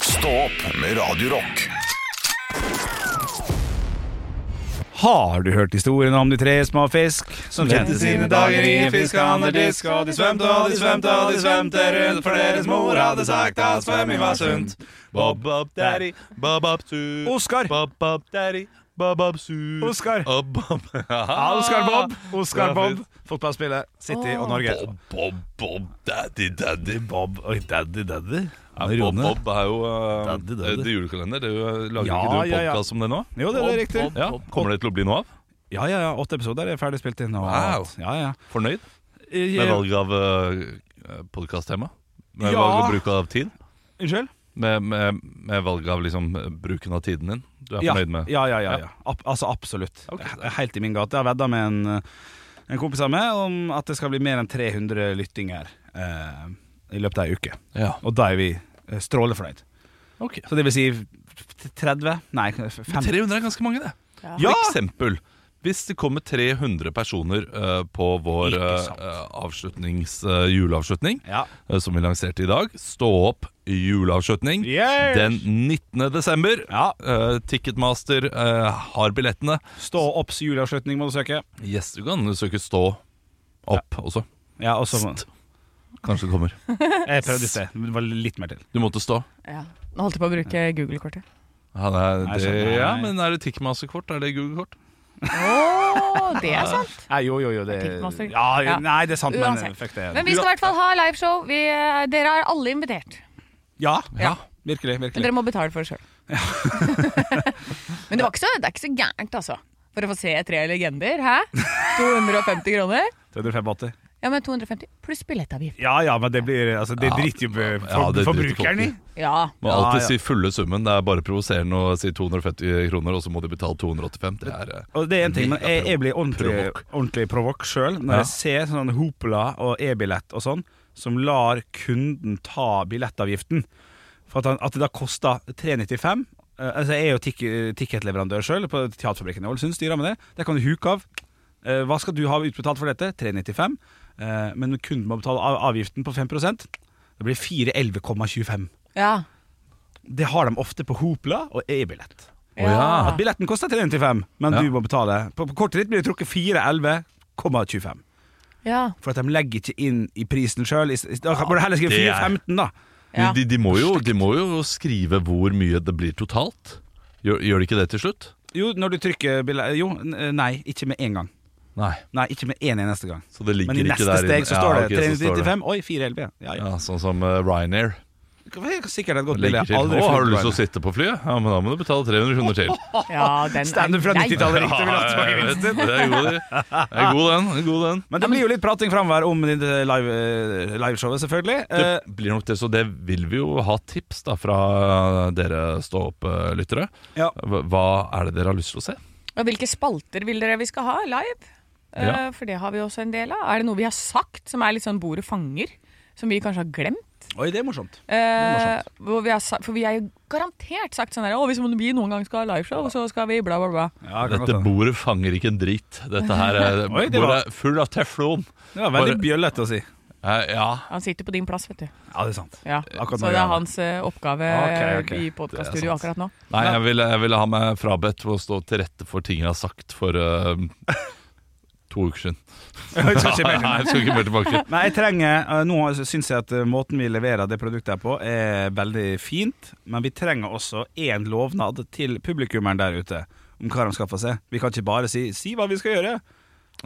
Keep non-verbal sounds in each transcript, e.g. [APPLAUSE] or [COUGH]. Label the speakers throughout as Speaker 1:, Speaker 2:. Speaker 1: Stå opp med Radio Rock.
Speaker 2: Har du hørt historien om de tre små fisk som tjente sine dager i en fiskehandlerdisk? Og de svømte og de svømte og de svømte rundt, for deres mor hadde sagt at svømming var sunt.
Speaker 3: Bob up daddy, bob up su
Speaker 2: Oskar.
Speaker 3: Bob up daddy, bob up su
Speaker 2: Oskar.
Speaker 3: Bob, bob. [LAUGHS]
Speaker 2: Oskar Bob. Oskar
Speaker 3: Det var
Speaker 2: Bob.
Speaker 3: fint.
Speaker 2: Fotballspillet. City og Norge.
Speaker 3: Bob, bob, bob, daddy, daddy
Speaker 2: Bob Oi, daddy, daddy.
Speaker 3: ja,
Speaker 2: Nå,
Speaker 3: Bob,
Speaker 2: Rune.
Speaker 3: bob er jo eh,
Speaker 2: Daddy, daddy.
Speaker 3: det er julekalender Det er jo, eh, Lager
Speaker 2: Ja,
Speaker 3: ikke du en
Speaker 2: ja, ja.
Speaker 3: podcast om det nå?
Speaker 2: Jo, det, det er riktig.
Speaker 3: Ja, kommer det til å bli noe av?
Speaker 2: Ja, ja, ja. Åtte episoder er ferdig spilt inn. Og
Speaker 3: Wow.
Speaker 2: alt. Ja, ja.
Speaker 3: Fornøyd med
Speaker 2: Eh,
Speaker 3: valget av uh, podcasttema? Med
Speaker 2: Ja.
Speaker 3: valget av bruk av tid?
Speaker 2: Unnskyld?
Speaker 3: Med, med, med valget av liksom eh, bruken av tiden din? Du er
Speaker 2: Ja,
Speaker 3: fornøyd med
Speaker 2: Ja, ja, ja, ja. Ab altså absolutt. Det er Helt i min gate. Jeg har vedda med en, eh, en kompis av meg om at det skal bli mer enn 300 lyttinger eh, i løpet av ei uke.
Speaker 3: Ja.
Speaker 2: Og da er vi eh, strålende fornøyd.
Speaker 3: Ok.
Speaker 2: Så det vil si f- 30? Nei, 50
Speaker 3: 300 er ganske mange, det.
Speaker 2: Ja!
Speaker 3: For eksempel, hvis det kommer 300 personer eh, på vår
Speaker 2: Ikke
Speaker 3: eh,
Speaker 2: sant.
Speaker 3: eh, avslutnings, eh, juleavslutning,
Speaker 2: Ja.
Speaker 3: eh, som vi lanserte i dag, Stå opp juleavslutning
Speaker 2: Yes!
Speaker 3: den 19. desember.
Speaker 2: Ja.
Speaker 3: Eh, Ticketmaster eh, har billettene.
Speaker 2: Stå opps juleavslutning må du søke.
Speaker 3: Yes, du kan søke Stå opp også.
Speaker 2: Ja, og så må-
Speaker 3: Kanskje det kommer.
Speaker 2: Jeg prøvde i sted. Det var litt mer til.
Speaker 3: Du måtte stå.
Speaker 4: Ja. Nå holdt jeg på å bruke Google-kortet.
Speaker 3: Ja, det er,
Speaker 2: Nei,
Speaker 3: det,
Speaker 2: skjønner jeg.
Speaker 3: ja, men er det Ticketmaster-kort? Er det Google-kort?
Speaker 4: Å, det er sant!
Speaker 2: Nei, jo, jo, jo.
Speaker 4: Jeg tenkte masse.
Speaker 2: Det, ja, jo,
Speaker 4: Ja.
Speaker 2: nei, det er sant, men
Speaker 4: Uansett.
Speaker 2: fuck det.
Speaker 4: Men vi skal i hvert fall ha liveshow. Vi, eh, dere er alle invitert.
Speaker 2: Ja,
Speaker 3: Ja.
Speaker 2: virkelig.
Speaker 4: Men
Speaker 2: virkelig
Speaker 4: dere må betale for det sjøl. [LAUGHS] Men det, var ikke så, det er ikke så gærent, altså. For å få se tre legender. Hæ? 250 kroner?
Speaker 2: 385.
Speaker 4: Ja, men 250 pluss billettavgift.
Speaker 2: Ja ja, men det blir altså, Det
Speaker 3: Ja.
Speaker 2: driter jo eh,
Speaker 3: Ja,
Speaker 2: for,
Speaker 3: det driter folk
Speaker 2: forbrukeren i.
Speaker 3: i.
Speaker 4: Ja.
Speaker 3: Må
Speaker 2: Ja,
Speaker 3: alltid
Speaker 2: ja.
Speaker 3: si fulle summen. Det er bare provoserende å si 250 kroner, og så må de betale 285. Det er eh,
Speaker 2: Og det er en ting, men
Speaker 3: mega
Speaker 2: jeg, jeg
Speaker 3: provo-
Speaker 2: blir ordentlig,
Speaker 3: provok.
Speaker 2: ordentlig provok sjøl når
Speaker 3: Ja.
Speaker 2: jeg ser sånn Hopla og e-billett og sånn, som lar kunden ta billettavgiften. For at, han, at det da koster 395. Eh, altså Jeg er jo tik ticketleverandør sjøl på Teaterfabrikken i Ålesund, styrer med det. Der kan du huke av. Eh, hva skal du ha utbetalt for dette? 395. Eh, men kunden må betale av avgiften på 5 Det blir 411,25.
Speaker 4: ja.
Speaker 2: Det har de ofte på Hopla og e-billett.
Speaker 3: Å ja.
Speaker 2: At billetten koster 395, men
Speaker 3: Ja.
Speaker 2: du må betale. På, på kortet ditt blir det trukket 411,25.
Speaker 4: ja.
Speaker 2: For at de legger ikke inn i prisen sjøl. Da kan- må du heller skrive
Speaker 3: det er-
Speaker 2: 415, da.
Speaker 4: Ja.
Speaker 3: De, de, må jo, de må jo skrive hvor mye det blir totalt. Gjør, gjør de ikke det til slutt?
Speaker 2: Jo, når du trykker bille- Jo, n- eh, nei, ikke med én gang.
Speaker 3: Nei.
Speaker 2: Nei, ikke med én eneste gang.
Speaker 3: Så det ligger
Speaker 2: Men i
Speaker 3: ikke der
Speaker 2: neste steg så
Speaker 3: Ja,
Speaker 2: står det
Speaker 3: ok, så står det.
Speaker 2: 395. Oi, 411. Ja, ja.
Speaker 3: Ja, sånn som eh, Ryanair.
Speaker 2: Det er Sikkert et godt bilde.
Speaker 3: Legger
Speaker 2: Jeg
Speaker 3: til.
Speaker 2: har aldri
Speaker 3: Å, har du
Speaker 2: flyttet
Speaker 3: lyst til å
Speaker 2: på
Speaker 3: sitte på flyet? Ja, men da må du betale 300 kroner til.
Speaker 4: Ja, den er
Speaker 2: Stand-up fra
Speaker 4: grei.
Speaker 3: Ja,
Speaker 2: 90-tallet. riktig, vil ha tilbake
Speaker 3: jeg vet. det er god, det. Det er god den. det er god den.
Speaker 2: men det blir jo litt prating framover om det live, eh, liveshowet, selvfølgelig. Eh,
Speaker 3: Det blir nok det, så det vil vi jo ha tips da fra dere stå-opp-lyttere.
Speaker 2: Ja.
Speaker 3: Hva er det dere har lyst til å se?
Speaker 4: Og hvilke spalter vil dere vi skal ha live?
Speaker 3: Ja.
Speaker 4: Eh, for det har vi også en del av. Er det noe vi har sagt som er litt sånn bordet fanger? Som vi kanskje har glemt?
Speaker 2: Oi, det er morsomt.
Speaker 4: Eh, hvor vi har sagt, for vi har jo garantert sagt sånn her Å, hvis vi noen gang skal ha liveshow, så skal vi bla, bla, bla.
Speaker 2: Ja, kan godt
Speaker 3: Dette
Speaker 2: hende.
Speaker 3: bordet fanger ikke en drit. Dette her er,
Speaker 2: sånn. [LAUGHS] Oi, det
Speaker 3: bordet
Speaker 2: var-
Speaker 3: er full av teflon.
Speaker 2: det var veldig bjøllete å si.
Speaker 3: Eh, Ja,
Speaker 4: Han sitter på din plass, vet du.
Speaker 2: Ja, det er sant.
Speaker 4: Ja.
Speaker 2: Akkurat
Speaker 4: Så
Speaker 2: nå,
Speaker 4: det
Speaker 2: ja.
Speaker 4: er hans eh, oppgave eh,
Speaker 2: Ok, ok.
Speaker 4: i podkaststudio akkurat nå.
Speaker 3: Nei, jeg ville, jeg ville ha meg frabedt å stå til rette for ting jeg har sagt for eh, to uker siden.
Speaker 2: [LAUGHS] Jeg skal ikke mer til.
Speaker 3: Nei, jeg skal ikke mer tilbake.
Speaker 2: Nei, jeg trenger eh, Nå syns jeg at eh, måten vi leverer det produktet her på, er veldig fint. Men vi trenger også én lovnad til publikummeren der ute om hva de skal få se. Vi kan ikke bare si 'si hva vi skal gjøre'.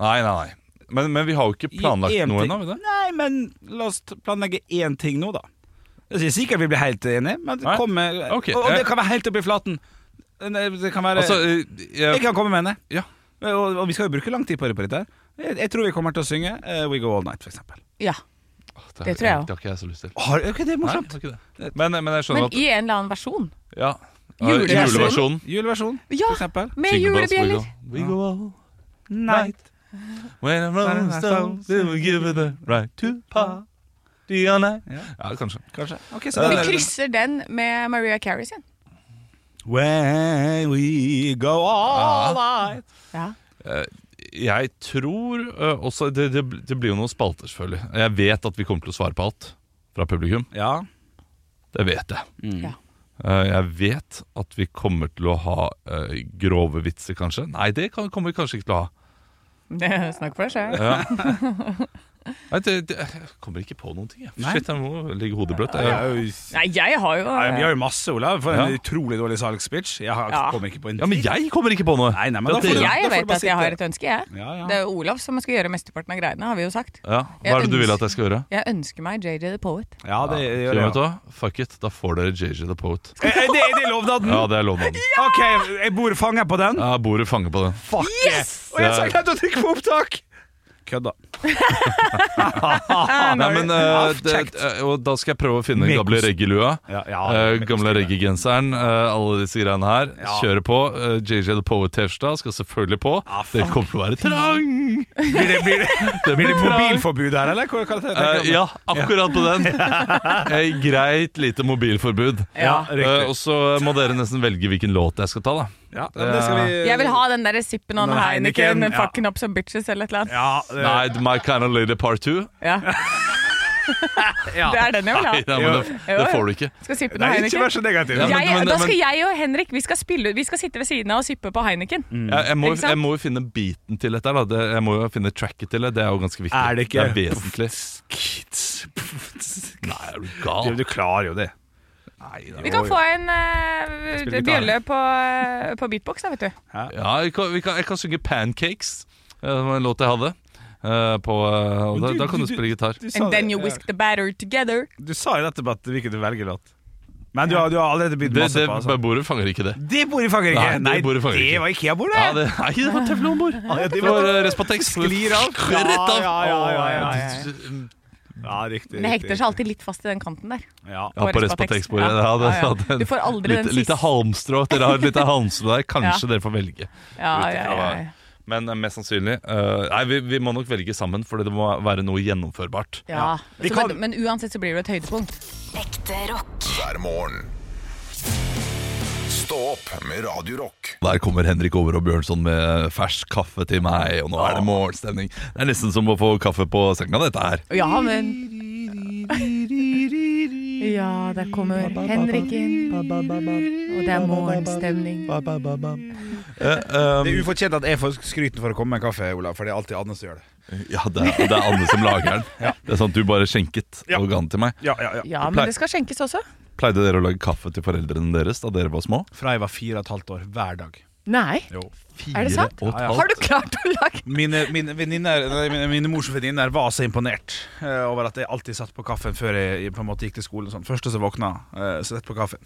Speaker 3: Nei, nei, nei. Men, men vi har jo ikke
Speaker 2: Gi
Speaker 3: planlagt
Speaker 2: én
Speaker 3: noe
Speaker 2: ting-
Speaker 3: ennå. har vi det?
Speaker 2: Nei, men la oss t- planlegge én ting nå, da. Jeg er sikkert vi blir helt enige, men
Speaker 3: Nei?
Speaker 2: kom med
Speaker 3: Ok,
Speaker 2: og, og
Speaker 3: eh.
Speaker 2: det kan være helt oppi flaten. Eh, Det kan være
Speaker 3: Altså, eh,
Speaker 2: Jeg
Speaker 3: jeg,
Speaker 2: kan komme med henne.
Speaker 3: ja.
Speaker 2: Og, og vi skal jo bruke lang tid på det på dette. her. Jeg, jeg tror vi kommer til å synge eh, We Go All Night, f.eks.
Speaker 4: Ja.
Speaker 3: Det,
Speaker 4: Det tror jeg også.
Speaker 3: Det har ikke jeg så lyst til.
Speaker 2: Ok, det
Speaker 3: Nei,
Speaker 2: er morsomt.
Speaker 3: det er ikke det. Men, men jeg
Speaker 4: Men
Speaker 3: skjønner at
Speaker 4: i en eller annen versjon.
Speaker 3: ja, Ja,
Speaker 4: Juleversjonen.
Speaker 3: Juleversjonen.
Speaker 2: Juleversjon,
Speaker 4: Ja,
Speaker 2: for eksempel.
Speaker 4: med
Speaker 3: Jingle bells,
Speaker 4: julebjeller.
Speaker 3: We go, we go all
Speaker 2: Night.
Speaker 3: When I'm rolling stones, then we give it the right to party all night.
Speaker 2: Ja.
Speaker 3: Ja, kanskje.
Speaker 2: Kanskje. Ok, så
Speaker 4: Vi
Speaker 2: da-
Speaker 4: krysser den med Maria Carrie sin.
Speaker 2: When we go all night.
Speaker 4: Ja.
Speaker 3: Jeg tror eh, også det, det, det blir jo noen spalter, selvfølgelig. Jeg vet at vi kommer til å svare på alt fra publikum.
Speaker 2: Ja. Mm.
Speaker 3: Det vet jeg.
Speaker 4: Ja.
Speaker 3: Eh, Jeg vet at vi kommer til å ha eh, grove vitser, kanskje. Nei, det kan, kommer vi kanskje ikke til å ha.
Speaker 4: Snakk for deg sjøl.
Speaker 3: Ja. Nei, det, det, jeg kommer ikke på noen ting. Jeg.
Speaker 2: Nei.
Speaker 3: Shit, jeg må ligge hodet bløtt.
Speaker 2: Ja.
Speaker 3: Jeg,
Speaker 4: Nei, jeg har jo
Speaker 2: Nei, vi har jo masse, Olav. For en
Speaker 3: Ja.
Speaker 2: utrolig dårlig salgsspeech. Jeg har,
Speaker 4: Ja.
Speaker 2: kommer ikke på en
Speaker 3: ja, men jeg kommer ikke på noe!
Speaker 2: Nei, nei, men da
Speaker 3: Det er
Speaker 2: får
Speaker 4: For
Speaker 2: du-
Speaker 3: dere.
Speaker 2: da
Speaker 4: jeg
Speaker 2: får du bare
Speaker 4: vet at jeg
Speaker 2: sitte.
Speaker 4: har et ønske, jeg.
Speaker 2: Ja, ja.
Speaker 4: Det er jo Olav som skal gjøre mesteparten av greiene, har vi jo sagt.
Speaker 3: Ja.
Speaker 4: Jeg
Speaker 3: Hva er det du vil
Speaker 4: ønsker-
Speaker 3: at jeg skal gjøre?
Speaker 4: Jeg ønsker meg JJ the Poet.
Speaker 2: ja, det
Speaker 3: Så
Speaker 2: gjør jeg.
Speaker 3: vet du hva? Fuck it, da får dere JJ the Poet.
Speaker 2: Eh, eh, Det, det er lovnaden!
Speaker 3: Ja, det er lovnaden.
Speaker 2: OK, jeg bor fanga på den.
Speaker 3: Ja, bordet fanger på den.
Speaker 2: Fuck yes! Og jeg sa glemt å trykke på opptak! [LAUGHS] Kødda.
Speaker 3: Nei, men eh,
Speaker 2: Halvt
Speaker 3: det,
Speaker 2: kjekt.
Speaker 3: eh, Og da skal jeg prøve å finne den
Speaker 2: Megos-
Speaker 3: gamle reggelua.
Speaker 2: Ja, ja,
Speaker 3: eh,
Speaker 2: megos-
Speaker 3: gamle reggegenseren, eh, alle disse greiene her.
Speaker 2: Ja.
Speaker 3: Kjøre på. Eh, JJ The Poet Tefstad skal selvfølgelig på.
Speaker 2: Ja,
Speaker 3: det
Speaker 2: Ah, fuck.
Speaker 3: kommer til å være trang!
Speaker 2: Blir det, blir det,
Speaker 3: [LAUGHS] Det
Speaker 2: blir det
Speaker 3: trang.
Speaker 2: mobilforbud her, eller? Hva, hva tenker du om
Speaker 3: Eh,
Speaker 2: det?
Speaker 3: ja, akkurat på den.
Speaker 2: [LAUGHS]
Speaker 3: Eh, greit lite mobilforbud.
Speaker 2: Ja,
Speaker 3: Eh,
Speaker 2: riktig.
Speaker 3: og så må dere nesten velge hvilken låt jeg skal ta, da.
Speaker 2: Ja, men det skal vi
Speaker 4: Jeg vil ha den derre sippen on
Speaker 2: Den
Speaker 4: Heineken,
Speaker 2: Heineken,
Speaker 4: den
Speaker 2: ja.
Speaker 4: fucking up some bitches eller et eller annet.
Speaker 2: Ja, eh,
Speaker 3: Nei, My Kind of Lady Part 2.
Speaker 4: Ja.
Speaker 2: Ja.
Speaker 4: Det er den jeg vil
Speaker 3: Nei,
Speaker 4: ha.
Speaker 3: nei, men det, det får du ikke.
Speaker 4: Skal sippe
Speaker 2: Nei,
Speaker 4: noe
Speaker 2: ikke vær sånn. så
Speaker 4: Heineken.
Speaker 2: negativ.
Speaker 3: Ja, men-
Speaker 4: Jeg,
Speaker 3: men-
Speaker 4: da skal
Speaker 3: men-
Speaker 4: jeg og Henrik vi skal, spille, vi skal sitte ved siden av og sippe på Heineken.
Speaker 2: Mm.
Speaker 3: Jeg, jeg, må,
Speaker 4: Ikke sant?
Speaker 3: jeg må jo finne beaten til dette. her, Da. Det, jeg må jo finne tracket til det. Det er jo ganske viktig.
Speaker 2: Er det ikke-
Speaker 3: er vesentlig.
Speaker 2: Kids.
Speaker 3: Nei, er du
Speaker 2: Du,
Speaker 3: gal?
Speaker 2: du klarer jo det.
Speaker 3: Nei, det er-
Speaker 4: Vi
Speaker 2: Jo,
Speaker 4: kan
Speaker 2: jo.
Speaker 4: få en eh,
Speaker 2: Spille gitar.
Speaker 4: bjølle på, eh, på beatbox, da, vet du.
Speaker 3: Ja, jeg kan, vi kan, jeg kan synge 'Pancakes', eh, det var en låt jeg hadde. eh, på, eh, og da, da kan du spille gitar.
Speaker 2: Du sa
Speaker 4: And then
Speaker 2: det,
Speaker 4: you
Speaker 2: ja.
Speaker 4: whisk the batter together.
Speaker 2: Du sa jo nettopp at du ikke velger låt. Men du har, du har allerede begynt
Speaker 3: Det,
Speaker 2: masse
Speaker 3: det
Speaker 2: på. Altså.
Speaker 3: bordet fanger ikke det.
Speaker 2: Det bor i Frankrike!
Speaker 3: Nei, det bor i Frankrike.
Speaker 2: det var Ikea-bord, det!
Speaker 3: Ja, det, nei, det var teflonbord.
Speaker 2: Ah, ja,
Speaker 3: Det
Speaker 2: det
Speaker 3: var
Speaker 2: var-
Speaker 3: eh, Respatex.
Speaker 2: Sklir av.
Speaker 3: Rett av.
Speaker 2: Ja, ja, ja, ja, ja.
Speaker 3: Ja,
Speaker 2: Ja, riktig,
Speaker 4: Men det hekter
Speaker 2: riktig.
Speaker 4: seg alltid litt fast i den kanten der.
Speaker 2: Ja.
Speaker 3: på
Speaker 4: Respatex.
Speaker 3: Respatex-bordet. Ja,
Speaker 4: Ja,
Speaker 3: det,
Speaker 4: ja, ja.
Speaker 3: det hadde-
Speaker 4: Du får aldri den
Speaker 3: lite, lite
Speaker 4: siste.
Speaker 3: halmstrå. Dere har et lite
Speaker 4: [LAUGHS]
Speaker 3: halmstrå der. Kanskje
Speaker 4: Ja.
Speaker 3: dere får velge.
Speaker 4: Ja,
Speaker 3: Ut
Speaker 4: ja,
Speaker 3: ifra
Speaker 4: ja,
Speaker 3: hva-
Speaker 4: ja.
Speaker 3: Men eh, mest sannsynlig eh, Nei, vi, vi må nok velge sammen, for det må være noe gjennomførbart.
Speaker 4: Ja.
Speaker 2: Vi
Speaker 4: Så,
Speaker 2: kan-
Speaker 4: men, men uansett så blir det et høydepunkt.
Speaker 5: Ekte rock.
Speaker 1: hver morgen. Stå opp med Radio Rock.
Speaker 3: Der kommer Henrik Over og Bjørnson med fersk kaffe til meg, og nå er det morgenstemning. Det er nesten som å få kaffe på senga, dette her.
Speaker 4: Ja,
Speaker 2: [LAUGHS]
Speaker 4: men Ja, der kommer Henrik inn, og det er morgenstemning.
Speaker 3: Eh, ehm,
Speaker 2: Det er ufortjent at jeg får skryten for å komme med en kaffe, Olav. For det er alltid Anne som gjør det.
Speaker 3: Ja, det er, det er Anne som
Speaker 4: [LAUGHS]
Speaker 3: lager den. Det er sånn at du bare skjenket
Speaker 2: Ja.
Speaker 3: og ga den til meg.
Speaker 2: Ja, ja, ja.
Speaker 4: Ja, men det skal skjenkes også.
Speaker 3: Pleide dere å lage kaffe til foreldrene deres da dere var små?
Speaker 2: Fra jeg var fire og et halvt år. Hver dag.
Speaker 4: Nei,
Speaker 2: Jo.
Speaker 3: Fire
Speaker 4: det sant?
Speaker 3: og et halvt.
Speaker 4: har du klart å lage
Speaker 2: Mine, mine, venninner, nei, mine, mine mors venninner var så imponert eh, over at jeg alltid satt på kaffen før jeg på en måte gikk til skolen. og Sånn. Første som våkna, eh, så rett på kaffen.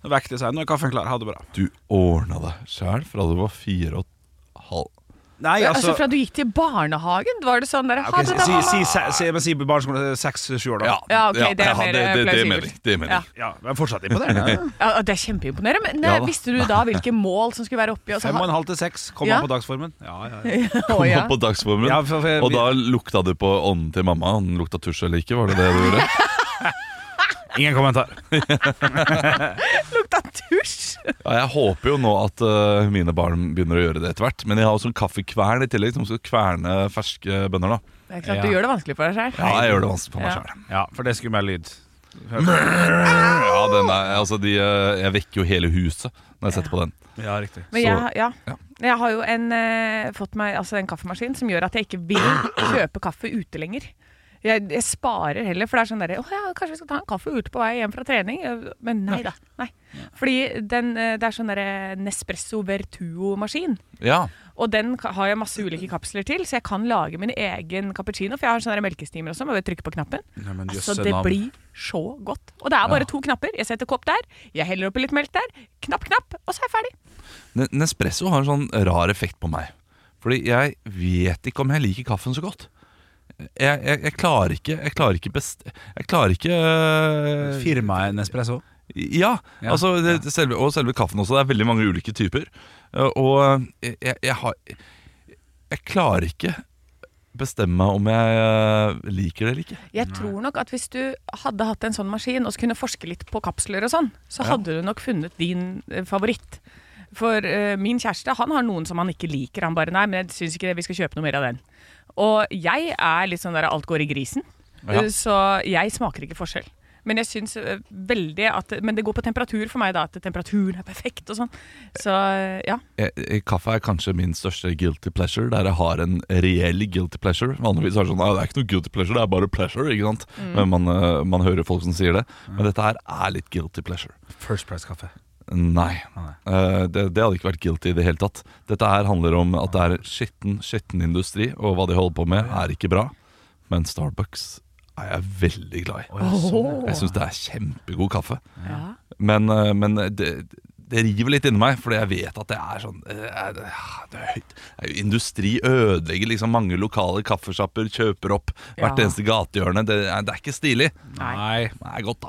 Speaker 2: Så vekket jeg seg. Nå er kaffen klar. Ha det bra.
Speaker 3: Du ordna deg sjæl fra du var fire og et halvt.
Speaker 2: Nei,
Speaker 4: Altså Fra du gikk til barnehagen, var det sånn der
Speaker 2: Ok,
Speaker 4: ha det da,
Speaker 2: si,
Speaker 4: mamma.
Speaker 2: si, si, si, men si barneskolen seks-sju år, da.
Speaker 4: Ja, ok, det er
Speaker 3: det, det,
Speaker 4: mer eh,
Speaker 3: det er
Speaker 4: plausibelt.
Speaker 3: mening. Det er mening.
Speaker 4: Ja.
Speaker 2: Ja, men fortsatt
Speaker 4: [LAUGHS]
Speaker 2: imponerende.
Speaker 4: Ja, det er kjempeimponerende. Men
Speaker 3: Ja
Speaker 4: eh,
Speaker 3: da.
Speaker 4: visste du da hvilke mål som skulle være oppi? Og så
Speaker 2: Fem og en halv til seks. Kom
Speaker 4: Altså, Ja.
Speaker 2: an på dagsformen. Ja, ja, ja.
Speaker 4: [LAUGHS] Å, ja.
Speaker 3: På dagsformen.
Speaker 2: Ja, for- for-
Speaker 3: og da lukta du på ånden til mamma. Om den lukta tusj eller ikke, var det det du
Speaker 4: [LAUGHS]
Speaker 3: gjorde?
Speaker 2: Ingen kommentar.
Speaker 4: Lukta tusj!
Speaker 3: Ja, jeg håper jo nå at øh, mine barn begynner å gjøre det etter hvert. Men jeg har også en kaffekvern i tillegg, som skal kverne ferske bønner. da
Speaker 4: Det er klart
Speaker 2: Ja.
Speaker 4: du gjør det vanskelig for deg sjøl.
Speaker 3: Ja, jeg gjør det vanskelig for meg
Speaker 4: Ja.
Speaker 3: sjøl.
Speaker 2: Ja, for det er skummel lyd.
Speaker 3: Ja, den er- altså, de, øh, jeg vekker jo hele huset når jeg setter på den.
Speaker 2: Ja, riktig.
Speaker 4: Men jeg, ja.
Speaker 3: ja.
Speaker 4: jeg har jo en, eh, fått meg altså en kaffemaskin som gjør at jeg ikke vil kjøpe kaffe ute lenger. Jeg, jeg sparer heller, for det er sånn derre Å ja, kanskje vi skal ta en kaffe ute på vei hjem fra trening? Men nei da. Nei. Fordi den, eh, det er sånn derre Nespresso Vertuo-maskin.
Speaker 3: Ja,
Speaker 4: Og den ka- har jeg masse ulike kapsler til, så jeg kan lage min egen cappuccino. For jeg har sånne der melkestimer også, må bare trykke på knappen.
Speaker 2: Nei, men
Speaker 4: altså,
Speaker 2: jøsse
Speaker 4: det
Speaker 2: navn.
Speaker 4: blir så godt. Og det er bare to knapper. Jeg setter kopp der, jeg heller oppi litt melk der, knapp, knapp, og så er jeg ferdig.
Speaker 3: N- Nespresso har en sånn rar effekt på meg. Fordi jeg vet ikke om jeg liker kaffen så godt. Jeg, jeg, jeg klarer ikke Jeg klarer ikke best... Jeg klarer ikke øh,
Speaker 2: Firmaet Nespresso.
Speaker 3: Ja,
Speaker 2: Ja,
Speaker 3: altså det, det Selve, og selve kaffen også. Det er veldig mange ulike typer. Eh, Og jeg, jeg, jeg har Jeg klarer ikke bestemme meg om jeg eh, liker det eller ikke.
Speaker 4: Jeg tror nok at hvis du hadde hatt en sånn maskin og så kunne forske litt på kapsler og sånn, så hadde du nok funnet din eh, favoritt. For eh, min kjæreste han har noen som han ikke liker. Han bare 'nei, men jeg syns ikke det, vi skal kjøpe noe mer av den'. Og jeg er litt sånn der alt går i grisen.
Speaker 3: Ja.
Speaker 4: Eh, Så jeg smaker ikke forskjell. Men jeg syns eh, veldig at Men det går på temperatur for meg, da. At temperaturen er perfekt og sånn. Så eh, ja.
Speaker 3: Jeg- jeg- Kaffe er kanskje min største guilty pleasure, der jeg har en reell guilty pleasure. Vanligvis er det sånn «Nei, det er ikke noe guilty pleasure, det er bare pleasure. ikke sant? Men man, eh, man hører folk som sier det. Men dette her er litt guilty pleasure.
Speaker 2: First Price-kaffe.
Speaker 3: Nei.
Speaker 2: Nei.
Speaker 3: Eh, det, det hadde ikke vært guilty i det hele tatt. Dette her handler om at det er skitten, skitten industri, og hva de holder på med, er ikke bra. Men Starbucks er jeg veldig glad i. Jeg syns det er kjempegod kaffe.
Speaker 4: ja.
Speaker 3: Men, eh, men det, det river litt inni meg, fordi jeg vet at det er sånn eh, er det- ah, det er høyt. Det er jo Industri ødelegger liksom mange lokale kaffesjapper, kjøper opp hvert
Speaker 4: Ja.
Speaker 3: eneste gatehjørne. Det, er- det er ikke stilig.
Speaker 4: Nei.
Speaker 2: Nei.
Speaker 3: Men Det er godt, da.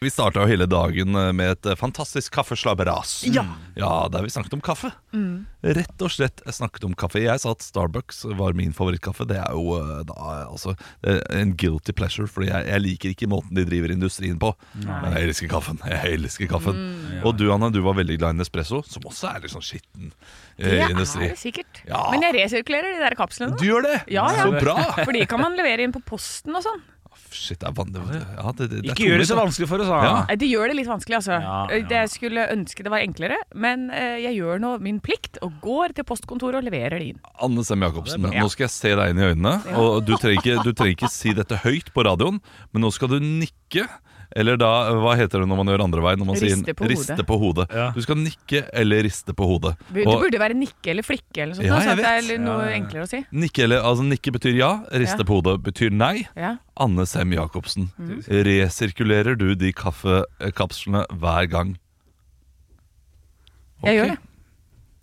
Speaker 3: Vi starta jo hele dagen eh, med et fantastisk kaffeslabberas.
Speaker 4: Ja. Mm.
Speaker 3: ja, der vi snakket om kaffe. Rett og slett eh, snakket om kaffe. Jeg sa at Starbucks var min favorittkaffe. Det er jo eh, da altså eh, en guilty pleasure, Fordi jeg, jeg liker ikke måten de driver industrien på. Men jeg elsker kaffen. [LAUGHS] Jeg elsker kaffen.
Speaker 4: Mm.
Speaker 3: Og du, Anne, du var veldig glad i Nespresso, som også er litt sånn skitten eh,
Speaker 4: Det er
Speaker 3: industri.
Speaker 4: det sikkert.
Speaker 3: Ja.
Speaker 4: Men jeg resirkulerer de der kapslene.
Speaker 3: Du
Speaker 4: da.
Speaker 3: gjør det!
Speaker 4: Ja, ja.
Speaker 3: Så
Speaker 4: [LAUGHS]
Speaker 3: bra!
Speaker 4: For de kan man levere inn på posten og sånn.
Speaker 3: Shit, det er vanlig. Ja, det, det, det er
Speaker 2: Ikke gjør det så
Speaker 3: tungvint, da.
Speaker 2: vanskelig for oss, da.
Speaker 3: Ja.
Speaker 4: Nei, Det gjør det litt vanskelig, altså.
Speaker 2: Ja,
Speaker 4: Eh,
Speaker 2: ja.
Speaker 4: Jeg skulle ønske det var enklere, men eh, jeg gjør nå min plikt og går til postkontoret og leverer det inn.
Speaker 3: Anne Sem Jacobsen,
Speaker 4: Ja.
Speaker 3: nå skal jeg se deg inn i øynene. Og du trenger, ikke, du trenger ikke si dette høyt på radioen, men nå skal du nikke. Eller da, hva heter det når man gjør andre veien? Når man
Speaker 4: Riste
Speaker 3: sier,
Speaker 4: på hodet.
Speaker 3: Riste på hodet.
Speaker 2: Ja.
Speaker 3: Du skal nikke eller riste på hodet.
Speaker 4: Det
Speaker 3: Og
Speaker 4: burde være nikke eller flikke eller noe sånt,
Speaker 3: Ja,
Speaker 4: da,
Speaker 3: jeg
Speaker 4: så at det
Speaker 3: vet.
Speaker 4: er noe
Speaker 2: Ja, ja, ja.
Speaker 4: enklere å si.
Speaker 3: nikke, eller, altså, nikke betyr ja, riste
Speaker 4: Ja. Mm.
Speaker 3: på hodet betyr nei.
Speaker 4: Ja.
Speaker 3: Anne Sem Jacobsen, resirkulerer du de kaffekapslene hver gang?
Speaker 4: Jeg gjør
Speaker 3: Ok.
Speaker 4: det.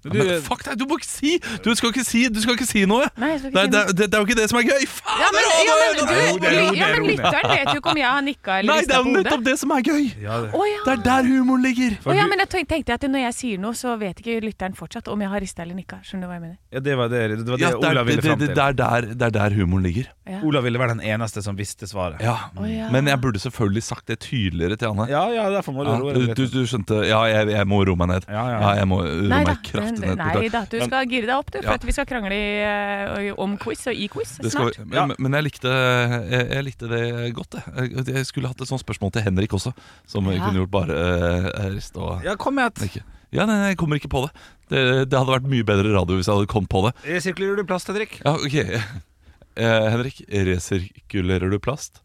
Speaker 3: Ja, men fuck deg, du må ikke si! Du skal ikke si, du skal ikke si noe!
Speaker 4: Nei, jeg skal
Speaker 3: Det, er-
Speaker 4: ikke si
Speaker 3: det,
Speaker 4: noe.
Speaker 3: er- det, det er jo ikke det som er gøy! Faen,
Speaker 4: Ja, men, ja,
Speaker 2: Jo, det
Speaker 4: men, du,
Speaker 2: er jo-
Speaker 4: ja,
Speaker 2: det er jo
Speaker 4: men
Speaker 2: det.
Speaker 4: lytteren vet jo ikke om jeg har nikka eller
Speaker 3: Nei, det
Speaker 4: rista
Speaker 3: er
Speaker 4: på
Speaker 3: jo
Speaker 4: hodet.
Speaker 3: nettopp det som er gøy!
Speaker 2: Ja, det.
Speaker 4: Å ja.
Speaker 3: Det er der humoren ligger!
Speaker 4: Å ja, men jeg tenk- tenkte at når jeg sier noe, så vet ikke lytteren fortsatt om jeg har rista eller nikka. Skjønner du hva jeg mener?
Speaker 2: Ja, det var det, det, var det
Speaker 3: Ja, det, er,
Speaker 2: Olav ville
Speaker 3: det, det,
Speaker 2: fram
Speaker 3: det,
Speaker 2: til.
Speaker 3: det, er der, det er der humoren ligger.
Speaker 4: Ja.
Speaker 2: Olav ville være den eneste som visste svaret.
Speaker 3: Ja.
Speaker 4: ja.
Speaker 3: Men jeg burde selvfølgelig sagt det tydeligere til Anne.
Speaker 2: ja, ja, derfor må
Speaker 3: Ja,
Speaker 2: du roe
Speaker 3: du,
Speaker 2: deg
Speaker 3: du,
Speaker 2: litt.
Speaker 3: du skjønte Ja, jeg, jeg må roe meg ned.
Speaker 2: Ja, ja.
Speaker 3: Ja, jeg må øh, roe
Speaker 4: Nei da,
Speaker 3: meg kraftig
Speaker 4: men-
Speaker 3: ned.
Speaker 4: nei da, du skal gire deg opp, du. For
Speaker 3: Ja.
Speaker 4: at vi skal krangle i, eh, om quiz og i quiz
Speaker 3: Det skal,
Speaker 4: snart.
Speaker 3: vi-
Speaker 2: Ja.
Speaker 3: men, men jeg likte, jeg, jeg likte det godt, jeg. Jeg- Jeg skulle hatt et sånt spørsmål til Henrik også, som vi
Speaker 4: Ja.
Speaker 3: kunne gjort bare eh, rist og
Speaker 2: Ja, kom med et.
Speaker 3: Ikke. Ja, nei, nei, jeg kommer ikke på det. det. Det hadde vært mye bedre radio hvis jeg hadde kommet på det.
Speaker 2: Resirkulerer du plast, Henrik?
Speaker 3: Ja, ok [LAUGHS] eh, Henrik, resirkulerer du plast?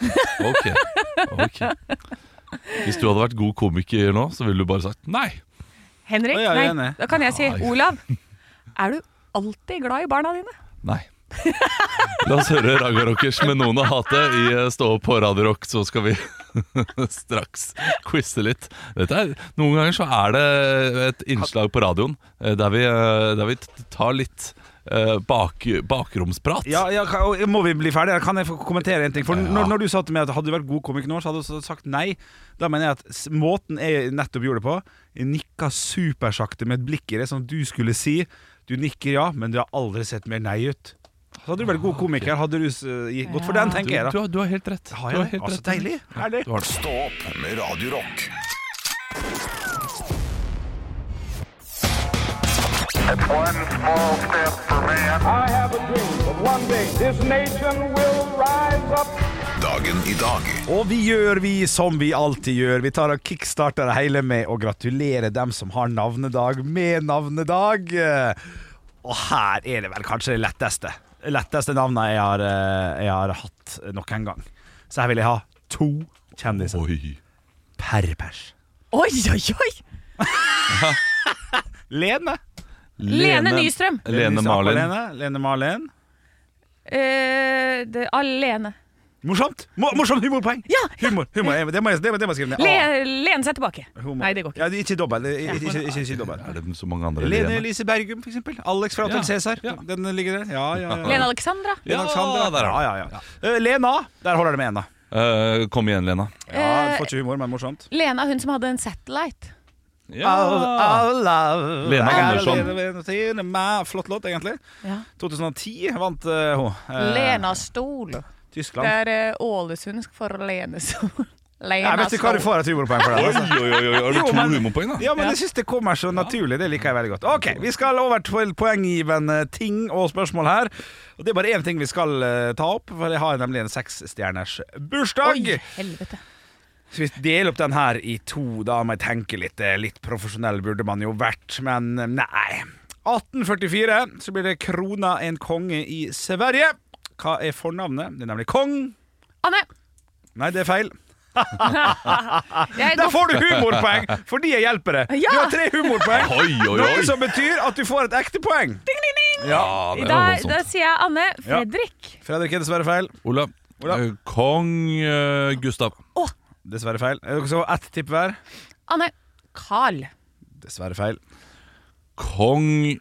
Speaker 3: Ok, [LAUGHS] ok Hvis du hadde vært god komiker nå Så ville du bare sagt nei
Speaker 4: Henrik,
Speaker 2: Å, ja, jeg er
Speaker 4: nei,
Speaker 2: enig.
Speaker 4: da kan jeg si
Speaker 3: Ai.
Speaker 4: Olav, er du alltid glad i barna dine?
Speaker 3: Nei La oss høre Raga Rockers med noen å hate I eh, Stå opp på Radio Rock Så skal vi [LAUGHS] straks quizze litt Dette er, Noen ganger så er det et innslag på radioen eh, Der vi, eh, der vi t- tar litt eh, bak, bakromsprat
Speaker 2: Ja, ja, ka- og Må vi bli ferdige? Kan jeg få kommentere en ting? For når, når du sa til meg at Hadde du vært god komiker nå, så hadde du også sagt nei. Da mener jeg at s- måten jeg nettopp gjorde det på Jeg nikka supersakte med et blikk i det, som du skulle si. Du nikker ja, men du har aldri sett mer nei ut. Så hadde du vært god komiker, hadde du s- eh, gi- gått for den,
Speaker 4: Ja.
Speaker 2: tenker jeg
Speaker 3: Ah, Du,
Speaker 2: da.
Speaker 3: du, har- du har helt rett.
Speaker 2: Har
Speaker 3: du
Speaker 2: jeg det?
Speaker 3: helt
Speaker 2: Altså,
Speaker 3: rett.
Speaker 2: deilig. Herlig.
Speaker 3: Du har det.
Speaker 1: Stå opp med Radio Rock.
Speaker 6: One small step for man.
Speaker 7: I have a dream that one day this nation will rise up.
Speaker 1: Dagen i dag
Speaker 2: Og vi gjør vi som vi alltid gjør. Vi tar og kickstarter det hele med å gratulere dem som har navnedag med navnedag. Eh, Og her er det vel kanskje det letteste. Det letteste navnet jeg har, eh, jeg har hatt noen gang. Så her vil jeg ha to kjendiser
Speaker 3: Oi.
Speaker 2: per pers.
Speaker 4: Oi, oi, oi!
Speaker 2: Lene.
Speaker 4: Lene Nystrøm.
Speaker 3: Lene Marlin.
Speaker 2: Lene, Lene Marlin.
Speaker 4: Eh, det, alene.
Speaker 2: Morsomt! Mo- Morsomt humorpoeng!
Speaker 4: Ja, [LAUGHS]
Speaker 2: Humor, humor. jeg- Det må jeg, det må- det må jeg skrive ned.
Speaker 4: Le,
Speaker 2: Ah,
Speaker 4: lene seg tilbake.
Speaker 2: humor.
Speaker 4: Nei, det går ikke.
Speaker 2: Ja, ikke dobbel. Ikke, ikke, ikke, ikke, ikke dobbel.
Speaker 3: Er det så mange andre
Speaker 2: Lene
Speaker 3: Lene?
Speaker 2: Elise Bergum, for eksempel. Alex fra Hotel
Speaker 3: Ja,
Speaker 2: Cæsar.
Speaker 3: ja.
Speaker 2: Den ligger der. Ja, ja, ja.
Speaker 4: Lene Alexandra.
Speaker 2: Lena
Speaker 3: Ja,
Speaker 2: Alexandra.
Speaker 3: der
Speaker 2: ja,
Speaker 3: har
Speaker 2: ja, ja. Eh, Lena. Der holder det med ena.
Speaker 3: Eh, kom igjen, Lena.
Speaker 2: Ja,
Speaker 4: Eh,
Speaker 2: Får ikke humor, men morsomt.
Speaker 4: Lena, hun som hadde en satellite.
Speaker 3: Lena Andersson.
Speaker 2: Andersson. Flott låt, egentlig.
Speaker 4: Ja.
Speaker 2: 2010 vant eh, hun. Eh,
Speaker 4: Lena eh, Stol. Det
Speaker 2: Tyskland.
Speaker 4: [LAUGHS] er eh, Ålesundsk for Lene Sol. Lame
Speaker 2: Jeg vet ikke hva du
Speaker 4: asshole.
Speaker 2: får av humorpoeng for det.
Speaker 3: Oi,
Speaker 2: Altså.
Speaker 3: oi, oi, oi, har du
Speaker 2: Jo,
Speaker 3: to
Speaker 2: men-
Speaker 3: humorpoeng, da?
Speaker 2: Ja, men jeg synes det kommer så naturlig. Det liker jeg veldig godt. Ok, Vi skal over til poenggivende ting og spørsmål her. Og Det er bare én ting vi skal eh, ta opp, for jeg har nemlig en seksstjerners bursdag.
Speaker 4: Oi, helvete.
Speaker 2: Så vi deler opp den her i to, da må jeg tenke litt. Eh, Litt profesjonell burde man jo vært, men eh, nei. 1844 så blir det krona en konge i Sverige. Hva er fornavnet? Det er nemlig kong.
Speaker 4: Anne,
Speaker 2: Nei, det er feil.
Speaker 4: jeg
Speaker 2: Der
Speaker 4: går
Speaker 2: får du humorpoeng fordi jeg hjelper deg.
Speaker 4: Ja.
Speaker 2: Du har tre humorpoeng.
Speaker 3: Oi, oi,
Speaker 2: Noe
Speaker 3: oi!
Speaker 2: som betyr at du får et ekte poeng.
Speaker 3: Ja, det var
Speaker 4: Da,
Speaker 3: voldsomt.
Speaker 4: da sier jeg Anne Fredrik.
Speaker 2: Fredrik er dessverre feil.
Speaker 3: Ola.
Speaker 2: Ola.
Speaker 3: eh, Kong eh, Gustav.
Speaker 2: Dessverre feil. Er dere så ett tipp hver?
Speaker 4: Anne Carl.
Speaker 2: Dessverre feil.
Speaker 3: Kong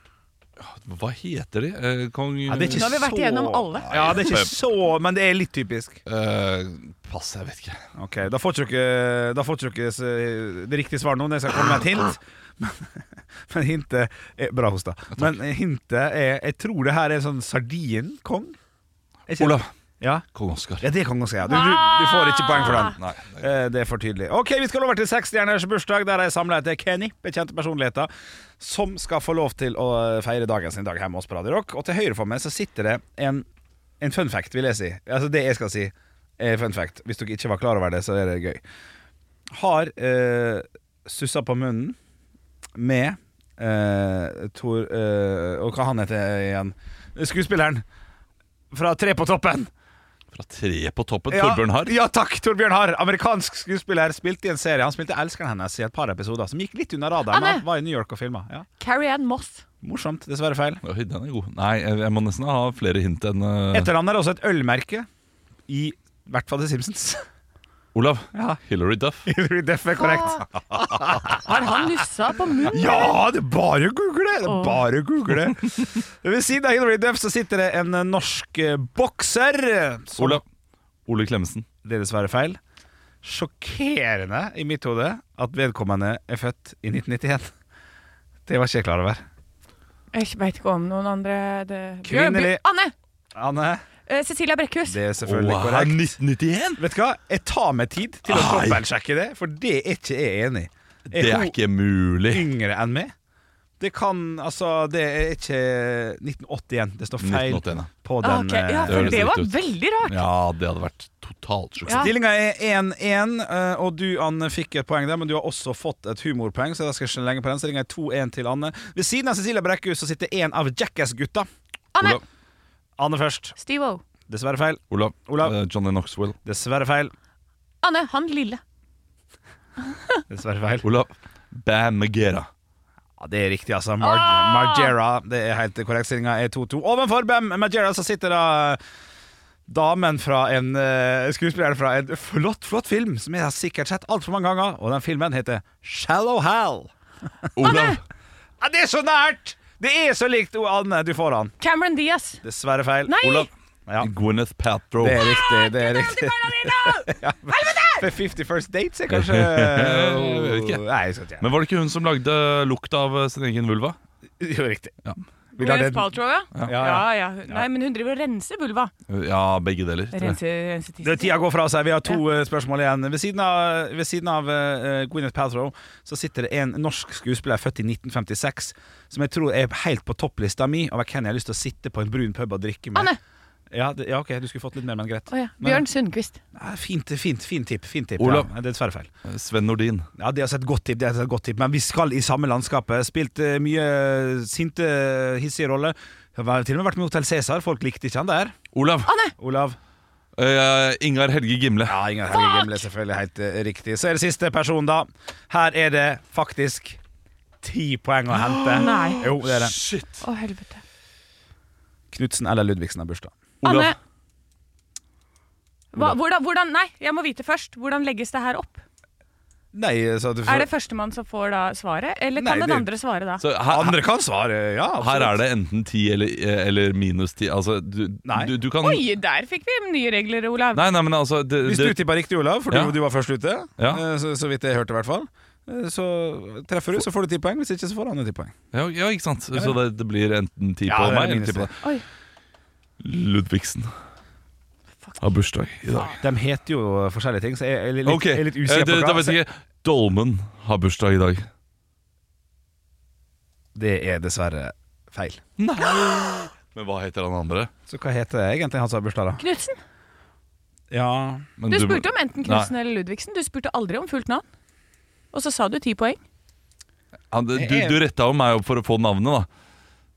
Speaker 3: Hva heter de? Eh, Kong
Speaker 2: Ja, det er ikke
Speaker 4: Nå har vi vært
Speaker 2: så-
Speaker 4: igjennom alle.
Speaker 2: Ja, det er ikke så, men det er litt typisk.
Speaker 3: Eh, Pass, jeg vet ikke.
Speaker 2: Ok, Da får ikke dere- da får ikke dere se- det riktige svaret nå, når jeg skal komme med et hint. Men, men hintet er Bra hosta. Men hintet er Jeg tror det her er en sånn sardinkong. Er ikke-
Speaker 3: Olav.
Speaker 2: Ja.
Speaker 3: Kong Oskar.
Speaker 2: ja, det kan godt si. Ja. Du, du, du får ikke poeng for den.
Speaker 3: Nei.
Speaker 2: Eh, Det er for tydelig. Ok, Vi skal over til seksstjerners bursdag, der jeg samler etter Kenny, bekjente personligheter, som skal få lov til å feire dagen sin dag hjemme hos på Radio Rock. Og til høyre for meg så sitter det en, en fun fact, vil jeg si. Altså Det jeg skal si, er fun fact. Hvis dere ikke var klar over det, så er det gøy. Har eh, sussa på munnen med eh, Tor eh, Og hva han heter igjen? Skuespilleren fra Tre på toppen.
Speaker 3: Fra tre på toppen. Torbjørn Harr.
Speaker 2: Ja takk, Torbjørn Harr. Amerikansk skuespiller. Spilte i en serie. Han spilte elskeren hennes i et par episoder som gikk litt under radaren.
Speaker 4: Anne!
Speaker 2: men Han var i New York og filma. Ja.
Speaker 4: Carrie Ann Moss.
Speaker 2: Morsomt. Dessverre feil.
Speaker 3: Oi, den er god. Nei, jeg jeg må nesten ha flere hint enn eh,
Speaker 2: Etternavnet er også et ølmerke i i hvert fall The Simpsons.
Speaker 3: Olav.
Speaker 2: Ja.
Speaker 3: Hillary Duff.
Speaker 2: Hilary Duff er korrekt.
Speaker 4: Ah, [LAUGHS] Har han nussa på munnen?
Speaker 2: Ja, det er bare å google! Det er bare å google Ved siden av Hilary Duff så sitter det en eh, norsk eh, bokser. som-
Speaker 3: Olav. Ole Klemetsen.
Speaker 2: Det er dessverre feil. Sjokkerende i mitt hode at vedkommende er født i 1991. Det var ikke jeg klar over.
Speaker 4: Jeg veit ikke om noen andre det...
Speaker 2: Kvinnelig.
Speaker 4: Bjørn- Anne!
Speaker 2: Anne?
Speaker 4: Eh, Cecilia Brekkhus.
Speaker 2: Det er selvfølgelig
Speaker 3: Åh,
Speaker 2: korrekt.
Speaker 3: 1991?
Speaker 2: Vet du hva? Jeg tar meg tid til å
Speaker 3: Ai.
Speaker 2: dobbeltsjekke det, for det er ikke jeg enig i.
Speaker 3: Det er ikke mulig.
Speaker 2: yngre enn meg? Det kan Altså, det er ikke 1981. Det står feil
Speaker 3: 1981, ja.
Speaker 2: på
Speaker 4: Ah,
Speaker 2: den. eh,
Speaker 4: ok. Ja,
Speaker 3: det
Speaker 4: for
Speaker 3: høres
Speaker 4: det var
Speaker 3: riktig ut.
Speaker 4: veldig rart.
Speaker 3: Ja, det hadde vært totalt sjukt.
Speaker 4: Ja.
Speaker 2: Stillinga er 1-1, eh, og du Anne fikk et poeng der, men du har også fått et humorpoeng. Så da skal jeg ikke lenge på den Stillinga er 2-1 til Anne. Ved siden av Cecilia Brekkhus så sitter en av Jackass-gutta.
Speaker 4: Anne!
Speaker 3: Olav.
Speaker 2: Anne først.
Speaker 4: Steve-O.
Speaker 2: Dessverre feil.
Speaker 3: Olav.
Speaker 2: Olav.
Speaker 3: Eh, Johnny Knoxwell.
Speaker 2: Dessverre feil.
Speaker 4: Anne, han lille.
Speaker 2: Dessverre feil.
Speaker 3: Olav. Bam Magera.
Speaker 2: Ja, Det er riktig, altså. Mar Margera. Det er helt korrekt. Stillinga er 2-2. Ovenfor Bam Margera så sitter da damen fra en eh, skuespiller fra en flott, flott film som jeg har sikkert sett altfor mange ganger. Og den filmen heter Shallow Hal.
Speaker 3: Olav.
Speaker 2: Ja, det er så nært! Det er så likt O, Anne. Du får han.
Speaker 4: Cameron Diaz.
Speaker 2: Dessverre feil.
Speaker 4: Nei!
Speaker 3: Olav.
Speaker 2: Ja.
Speaker 3: Gwyneth Paltrow.
Speaker 2: Det er riktig. Det er riktig. Ja, men- For 50 First Dates er kanskje
Speaker 3: Jeg vet ikke.
Speaker 2: Nei, jeg skal ikke.
Speaker 3: Men var det ikke hun som lagde lukt av eh, sin egen vulva?
Speaker 2: Jo, riktig.
Speaker 3: Ja.
Speaker 2: [LAUGHS] Vi lar
Speaker 4: Gwyneth
Speaker 2: den-
Speaker 4: Paltrow, ja. Ja,
Speaker 2: ja.
Speaker 4: ja. hun- Nei, men hun driver og renser vulva.
Speaker 3: Ja, begge deler. tror jeg.
Speaker 4: Renser, renser
Speaker 2: Det,
Speaker 4: tissen.
Speaker 2: tida går fra seg. Vi har to eh, spørsmål igjen. Ved siden av, ved siden av eh, Gwyneth Paltrow så sitter det en norsk skuespiller født i 1956 som jeg tror er helt på topplista mi over hvem jeg har lyst til å sitte på en brun pub og drikke med.
Speaker 4: Anne!
Speaker 2: Ja, det, ja, ok, du skulle fått litt mer, men greit.
Speaker 4: Å ja. Bjørn Sundquist.
Speaker 2: Nei, fint, fint, fint tipp. Fint tipp
Speaker 3: Olav.
Speaker 2: Ja, det er dessverre feil.
Speaker 3: Sven Nordin.
Speaker 2: Ja, det er altså et godt tipp, det er altså et godt tipp. Men vi skal i samme landskapet. Spilt eh, mye sinte, hissige roller. Jeg har Til og med vært med i Hotell Cæsar. Folk likte ikke han der.
Speaker 3: Olav.
Speaker 2: Olav?
Speaker 3: Eh, Ingar Helge Gimle.
Speaker 2: Ja, Inger Helge Gimle er selvfølgelig helt eh, riktig. Så er det siste person, da. Her er det faktisk ti poeng å hente.
Speaker 4: Nei.
Speaker 2: Jo, det er det.
Speaker 3: Shit.
Speaker 4: Å, helvete.
Speaker 2: Knutsen eller Ludvigsen har bursdag.
Speaker 3: Olav.
Speaker 4: Anne! Hva, hvordan, hvordan, nei, jeg må vite først. Hvordan legges det her opp?
Speaker 2: Nei, så du
Speaker 4: Er det førstemann som får da svaret, eller kan
Speaker 2: Nei,
Speaker 4: den
Speaker 2: det-
Speaker 4: andre svare da?
Speaker 3: Så her,
Speaker 2: Andre kan svare, ja.
Speaker 3: her er det enten 10 eller, eh, eller minus 10. Altså, du,
Speaker 2: Nei.
Speaker 3: du, du kan
Speaker 4: Oi, der fikk vi nye regler, Olav.
Speaker 3: Nei, nei, men altså det,
Speaker 2: Hvis du
Speaker 3: det,
Speaker 2: tippa riktig, Olav, for
Speaker 3: Ja.
Speaker 2: du, du var først ute,
Speaker 3: Ja.
Speaker 2: eh, så, så vidt jeg hørte, i hvert fall, eh, så treffer du, så får du ti poeng. Hvis ikke, så får han ti poeng.
Speaker 3: ja, ja, ikke sant? Så det, det blir enten 10
Speaker 2: Ja,
Speaker 3: på
Speaker 2: det er
Speaker 3: meg eller
Speaker 2: minus
Speaker 3: 10 på
Speaker 2: ti.
Speaker 3: deg.
Speaker 4: Oi,
Speaker 3: Ludvigsen.
Speaker 4: faktisk.
Speaker 3: Har bursdag i dag.
Speaker 2: De heter jo forskjellige ting, så jeg er litt,
Speaker 3: Ok,
Speaker 2: jeg er litt usikker
Speaker 3: eh,
Speaker 2: på
Speaker 3: det- da
Speaker 2: hva.
Speaker 3: vet jeg ikke. Dolmen har bursdag i dag.
Speaker 2: Det er dessverre feil.
Speaker 3: [GASPS] Men hva heter han andre?
Speaker 2: Så hva heter egentlig han som har bursdag, da?
Speaker 4: Knutsen.
Speaker 2: Ja
Speaker 3: Men
Speaker 4: Du spurte om enten Knutsen
Speaker 3: Nei.
Speaker 4: eller Ludvigsen. Du spurte aldri om fullt navn. Og så sa du ti poeng.
Speaker 3: han, du, du retta jo meg opp for å få navnet, da.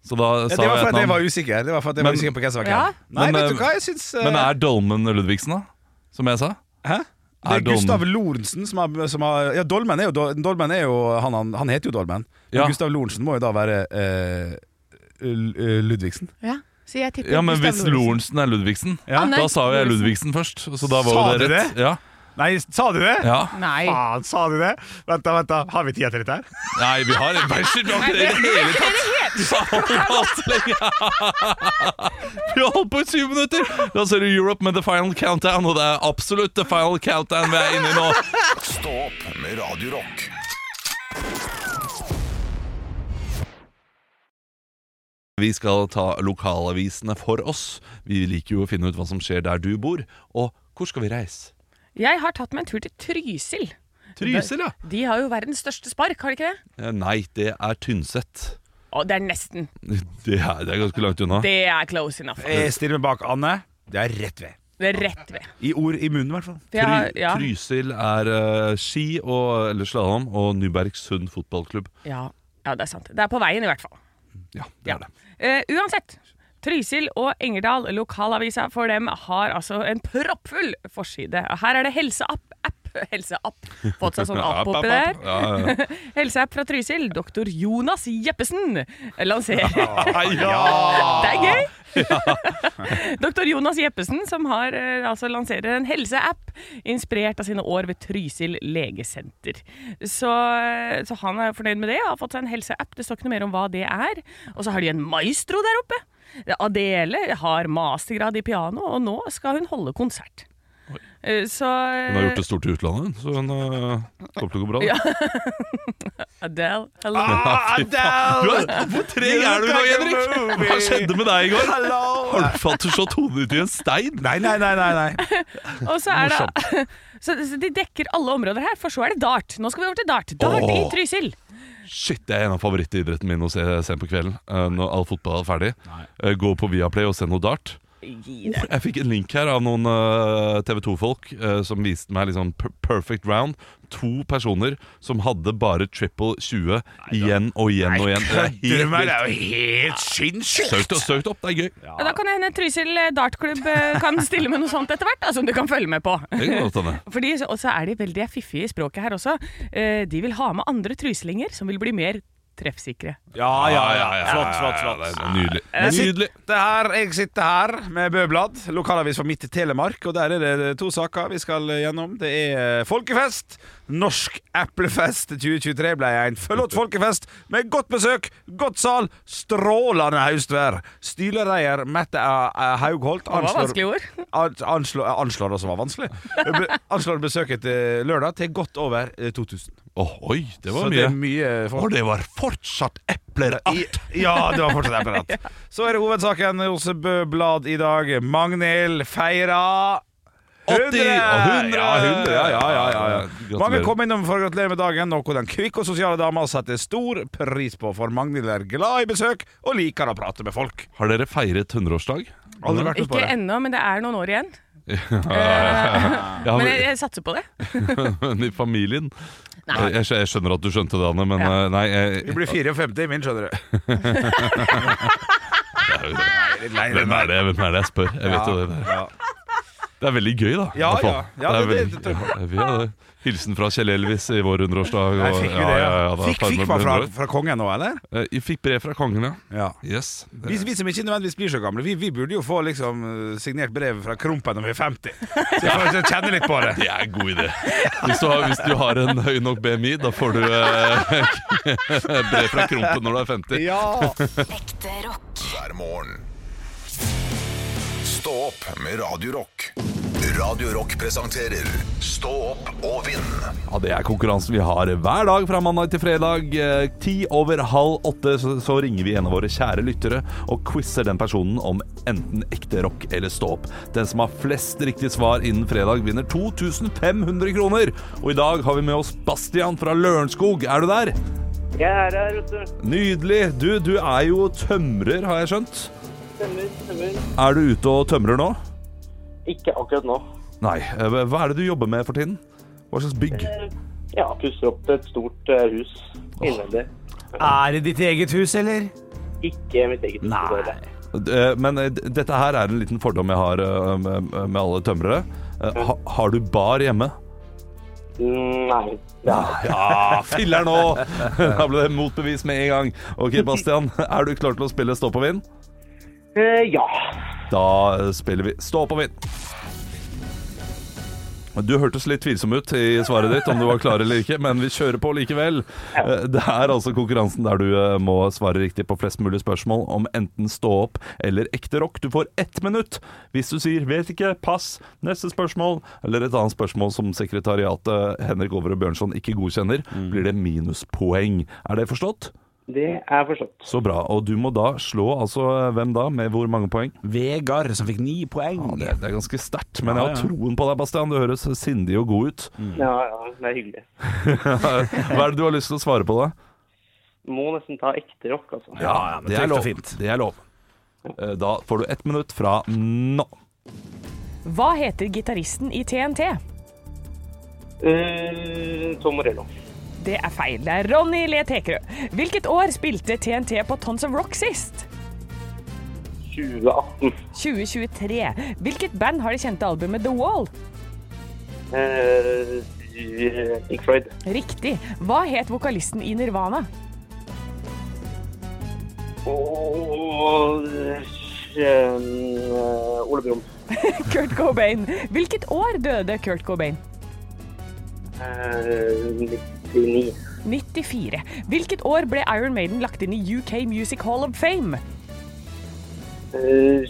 Speaker 3: Så da
Speaker 2: ja,
Speaker 3: sa jeg et
Speaker 2: Det var for at jeg
Speaker 3: navn.
Speaker 2: var usikker Det var for at jeg var
Speaker 3: Men-
Speaker 2: usikker på hvem som var hvem.
Speaker 4: Ja.
Speaker 2: Nei,
Speaker 3: Men,
Speaker 2: vet
Speaker 3: eh,
Speaker 2: du hva, jeg syns eh,
Speaker 3: Men er Dolmen Ludvigsen, da? Som jeg sa?
Speaker 2: Hæ?
Speaker 3: er
Speaker 2: Det er
Speaker 3: Dolmen-
Speaker 2: Gustav Lorentzen som har, som har Ja, Dolmen er jo, Dol- Dolmen er jo han, han, han heter jo Dolmen. Men
Speaker 3: Ja.
Speaker 2: Gustav Lorentzen må jo da være eh, L- eh, Ludvigsen.
Speaker 4: Ja, så jeg tipper
Speaker 3: Ja, men
Speaker 4: Gustav
Speaker 3: hvis
Speaker 4: Lorentzen.
Speaker 3: Lorentzen er Ludvigsen
Speaker 2: Ja.
Speaker 4: Anne
Speaker 3: Da sa jo jeg
Speaker 4: Lorentzen.
Speaker 3: Ludvigsen først, så da
Speaker 2: Sa
Speaker 3: var jo det
Speaker 2: du
Speaker 3: rett. Ja.
Speaker 2: Nei, sa du det?
Speaker 3: ja.
Speaker 4: Nei.
Speaker 2: Faen, sa du det? Vent da, vent da. Har vi tida til dette her?
Speaker 3: Nei, vi har en bæsjer, vi har ikke det i det hele tatt! Du har holdt på så lenge. [LAUGHS] Vi har holdt på i syv minutter! Da ser du Europe med The Final Countdown, og det er absolutt The Final Countdown vi er inne i nå.
Speaker 1: Stå opp med Radio Rock.
Speaker 3: Vi skal ta lokalavisene for oss. Vi liker jo å finne ut hva som skjer der du bor, og hvor skal vi reise?
Speaker 4: Jeg har tatt meg en tur til Trysil.
Speaker 3: Trysil, ja.
Speaker 4: De har jo verdens største spark, har de ikke det?
Speaker 3: Eh, Nei, det er Tynset.
Speaker 4: Å, det er nesten.
Speaker 3: Det er, det er ganske langt unna.
Speaker 4: Det er close enough.
Speaker 3: Eh,
Speaker 2: Jeg stiller meg bak Anne. Det er rett ved.
Speaker 4: Det er rett ved.
Speaker 2: I ord i munnen, i hvert fall.
Speaker 4: For jeg har,
Speaker 3: Try-
Speaker 4: ja,
Speaker 3: Trysil er eh, ski og, eller slalåm og Nybergsund fotballklubb.
Speaker 4: ja, ja, det er sant. Det er på veien, i hvert fall.
Speaker 3: Ja, det
Speaker 4: Ja.
Speaker 3: er det.
Speaker 4: Eh, uansett. Trysil og Engerdal, lokalavisa for dem, har altså en proppfull forside. Her er det helseapp. App, helseapp. Fått seg sånn [LAUGHS] app oppi der.
Speaker 3: Ja, [LAUGHS] ja, ja.
Speaker 4: Helseapp fra Trysil. Doktor Jonas Jeppesen lanserer
Speaker 2: Ja!
Speaker 4: Det er gøy! [LAUGHS] Doktor Jonas Jeppesen som har, eh, altså lanserer en helseapp inspirert av sine år ved Trysil legesenter. Så, eh, så han er fornøyd med det og har fått seg en helseapp. Det står ikke noe mer om hva det er. Og så har de en maestro der oppe. Adele har mastergrad i piano, og nå skal hun holde konsert. Eh, Så
Speaker 3: Hun har gjort det stort i utlandet, så hun eh, kommer til å gå bra. da.
Speaker 4: eh, Adele, hello.
Speaker 3: Ah,
Speaker 2: Ah,
Speaker 3: Du er, hvor treg er du i dag, Henrik? Hva skjedde med deg i går? Har du falt du slått hodet ut i en stein?
Speaker 2: Nei, nei, nei, nei, nei.
Speaker 4: Og så er det [LAUGHS] så, så de dekker alle områder her, for så er det dart. Nå skal vi over til dart. Dart i
Speaker 3: Åh.
Speaker 4: Trysil.
Speaker 3: Shit, det er en av favorittidrettene mine å se sent på kvelden eh, når all fotball er ferdig. Eh, Gå på Viaplay og se noe dart.
Speaker 4: Gi
Speaker 3: Jeg fikk en link her av noen eh, TV 2-folk som viste meg liksom per- perfect round. To personer som hadde bare triple 20 igjen og igjen og igjen. Det er helt
Speaker 2: meg,
Speaker 3: vilt.
Speaker 2: det er jo helt sinnssykt!
Speaker 3: Søkt opp, søkt opp, det er gøy.
Speaker 4: Ja, Da kan det hende Trysil eh, dartklubb eh, kan stille med noe sånt etter hvert, da, som du kan følge med på.
Speaker 3: Det kan godt hende.
Speaker 4: Fordi, Og så er de veldig fiffige i språket her også. Eh, De vil ha med andre tryslinger som vil bli mer treffsikre.
Speaker 2: Ja, ja, ja. Flott, flott, flott.
Speaker 3: Det er nydelig.
Speaker 2: Eh, Jeg
Speaker 3: Nydelig.
Speaker 2: sitter her, jeg sitter her med Bøblad, lokalavis for Midt Telemark. Og der er det to saker vi skal gjennom. Det er eh, folkefest. Norsk eplefest 2023 ble en fullått folkefest med godt besøk, godt sal, strålende høstvær. Styreleder Mette eh, Haugholt
Speaker 4: Det var
Speaker 2: anslår-
Speaker 4: vanskelige ord.
Speaker 2: Ans- Anslår, eh, anslår det som var vanskelig. Be- Anslår besøket til lørdag til godt over eh, 2000.
Speaker 3: Åh, oi, det
Speaker 2: Så
Speaker 3: var
Speaker 2: det er
Speaker 3: mye.
Speaker 2: mye folk.
Speaker 3: Og det var fortsatt epler.
Speaker 2: I, [LAUGHS] ja, det var fortsatt apparat. Så er det hovedsaken hos Bøblad i dag. Magnhild feira
Speaker 3: 80, og 100.
Speaker 2: Ja, 100 ja, ja, ja, ja, ja.
Speaker 3: Gratulerer.
Speaker 2: Mange kom innom for å gratulere med dagen, noe den kvikke og sosiale dama setter stor pris på. For Magnhild er glad i besøk og liker å prate med folk.
Speaker 3: Har dere feiret 100-årsdag?
Speaker 2: Aldri vært med på
Speaker 4: Ikke
Speaker 2: det.
Speaker 4: ennå, men det er noen år igjen. Eh,
Speaker 3: Ja,
Speaker 4: Men jeg,
Speaker 3: men-
Speaker 4: jeg satser på det.
Speaker 3: men i familien?
Speaker 4: Nei.
Speaker 3: Jeg, skj- jeg skjønner at du skjønte det, Anne, men
Speaker 4: Ja.
Speaker 3: eh, nei jeg,
Speaker 2: Vi blir 54 i min, [LAUGHS] skjønner du. Litt lei den
Speaker 3: Hvem er
Speaker 2: der.
Speaker 3: det Hvem er det jeg spør? Jeg vet jo det. der.
Speaker 2: Ja.
Speaker 3: Det er veldig gøy, da. i
Speaker 2: Ja,
Speaker 3: hvert fall.
Speaker 2: ja. Ja,
Speaker 3: det er
Speaker 2: det-
Speaker 3: veldig,
Speaker 2: det- det-
Speaker 3: ja, vi har det. Hilsen fra Kjell Elvis i vår hundreårsdag.
Speaker 2: Nei,
Speaker 3: og-
Speaker 2: fikk vi det? Ja,
Speaker 3: da
Speaker 2: fikk,
Speaker 3: tar vi
Speaker 2: fikk
Speaker 3: med
Speaker 2: man fra,
Speaker 3: 100 år.
Speaker 2: fra kongen nå, eller?
Speaker 3: Eh, Jeg fikk brev fra kongen, ja.
Speaker 2: Ja.
Speaker 3: Yes.
Speaker 2: Vi, vi som ikke nødvendigvis blir så gamle, vi, vi burde jo få liksom, eh, signert brev fra Krompen når vi er 50. Så jeg får kjenne litt på det. [LAUGHS]
Speaker 3: Det er en god idé. Hvis du, har, hvis du har en høy nok BMI, da får du eh, [LAUGHS] brev fra Krompen når du er 50.
Speaker 5: Ekte rock.
Speaker 1: hver morgen. Stå opp med Radio Rock. Radio Rock presenterer Stå opp og vinn.
Speaker 3: Ja, Det er konkurransen vi har hver dag fra mandag til fredag. Eh, Ti over halv åtte så, så ringer vi en av våre kjære lyttere og quizer den personen om enten ekte rock eller stå opp. Den som har flest riktige svar innen fredag, vinner 2500 kroner. Og i dag har vi med oss Bastian fra Lørenskog. Er du der?
Speaker 8: Jeg er her, vet du.
Speaker 3: Nydelig. Du, du er jo tømrer, har jeg skjønt.
Speaker 8: Stemmer, stemmer.
Speaker 3: Er du ute og tømrer nå?
Speaker 8: Ikke akkurat nå.
Speaker 3: Nei. Eh, Hva er det du jobber med for tiden? Hva slags bygg?
Speaker 8: Ja, pusser opp til et stort eh, hus innvendig.
Speaker 2: Er det ditt eget hus, eller?
Speaker 8: Ikke mitt eget hus. dessverre.
Speaker 3: Eh, Men eh, d- dette her er en liten fordom jeg har eh, med med alle tømrere. Eh, Ha, har du bar hjemme?
Speaker 8: Mm, Nei. Det er
Speaker 3: Ja, [LAUGHS] filler nå! Da ble det motbevis med en gang. Ok, Bastian, er du klar til å spille Stå på vind?
Speaker 8: Eh, Ja.
Speaker 3: Da eh, spiller vi Stå på vind. Du hørtes litt tvilsom ut i svaret ditt, om du var klar eller ikke, men vi kjører på likevel. Eh, Det er altså konkurransen der du eh, må svare riktig på flest mulig spørsmål om enten stå opp eller ekte rock. Du får ett minutt hvis du sier 'vet ikke', 'pass', 'neste spørsmål' eller et annet spørsmål som sekretariatet Henrik Over og Bjørnson ikke godkjenner,
Speaker 2: Mm.
Speaker 3: blir det minuspoeng. Er det forstått?
Speaker 8: Det er forstått.
Speaker 3: Så bra. Og du må da slå altså eh, hvem da, med hvor mange poeng?
Speaker 2: Vegard, som fikk ni poeng.
Speaker 3: Ja, det, det er ganske sterkt, men
Speaker 2: Mm. Ja,
Speaker 3: jeg har
Speaker 2: ja.
Speaker 3: troen på deg, Bastian. Du høres sindig og god ut.
Speaker 8: Ja, ja. Det er hyggelig.
Speaker 3: [LAUGHS] Hva er det du har lyst til å svare på, da?
Speaker 8: Må nesten ta ekte rock, altså.
Speaker 2: Ja, ja, men trygt og fint.
Speaker 3: Det er lov. Eh, Da får du ett minutt fra nå.
Speaker 4: Hva heter gitaristen i TNT?
Speaker 8: Eh, Tom Morello.
Speaker 4: Det er feil. Det er Ronny Le Tekerød. Hvilket år spilte TNT på Tons of Rock sist?
Speaker 8: 2018.
Speaker 4: 2023. Hvilket band har det kjente albumet The Wall?
Speaker 8: Eh, Pink Floyd.
Speaker 4: Riktig. Hva het vokalisten i Nirvana?
Speaker 8: Og eh, Ole Brumm.
Speaker 4: Kurt Cobain. Hvilket år døde Kurt Cobain?
Speaker 8: Eh, 99.
Speaker 4: 94. Hvilket år ble Iron Maiden lagt inn i UK Music Hall of Fame?
Speaker 8: Eh,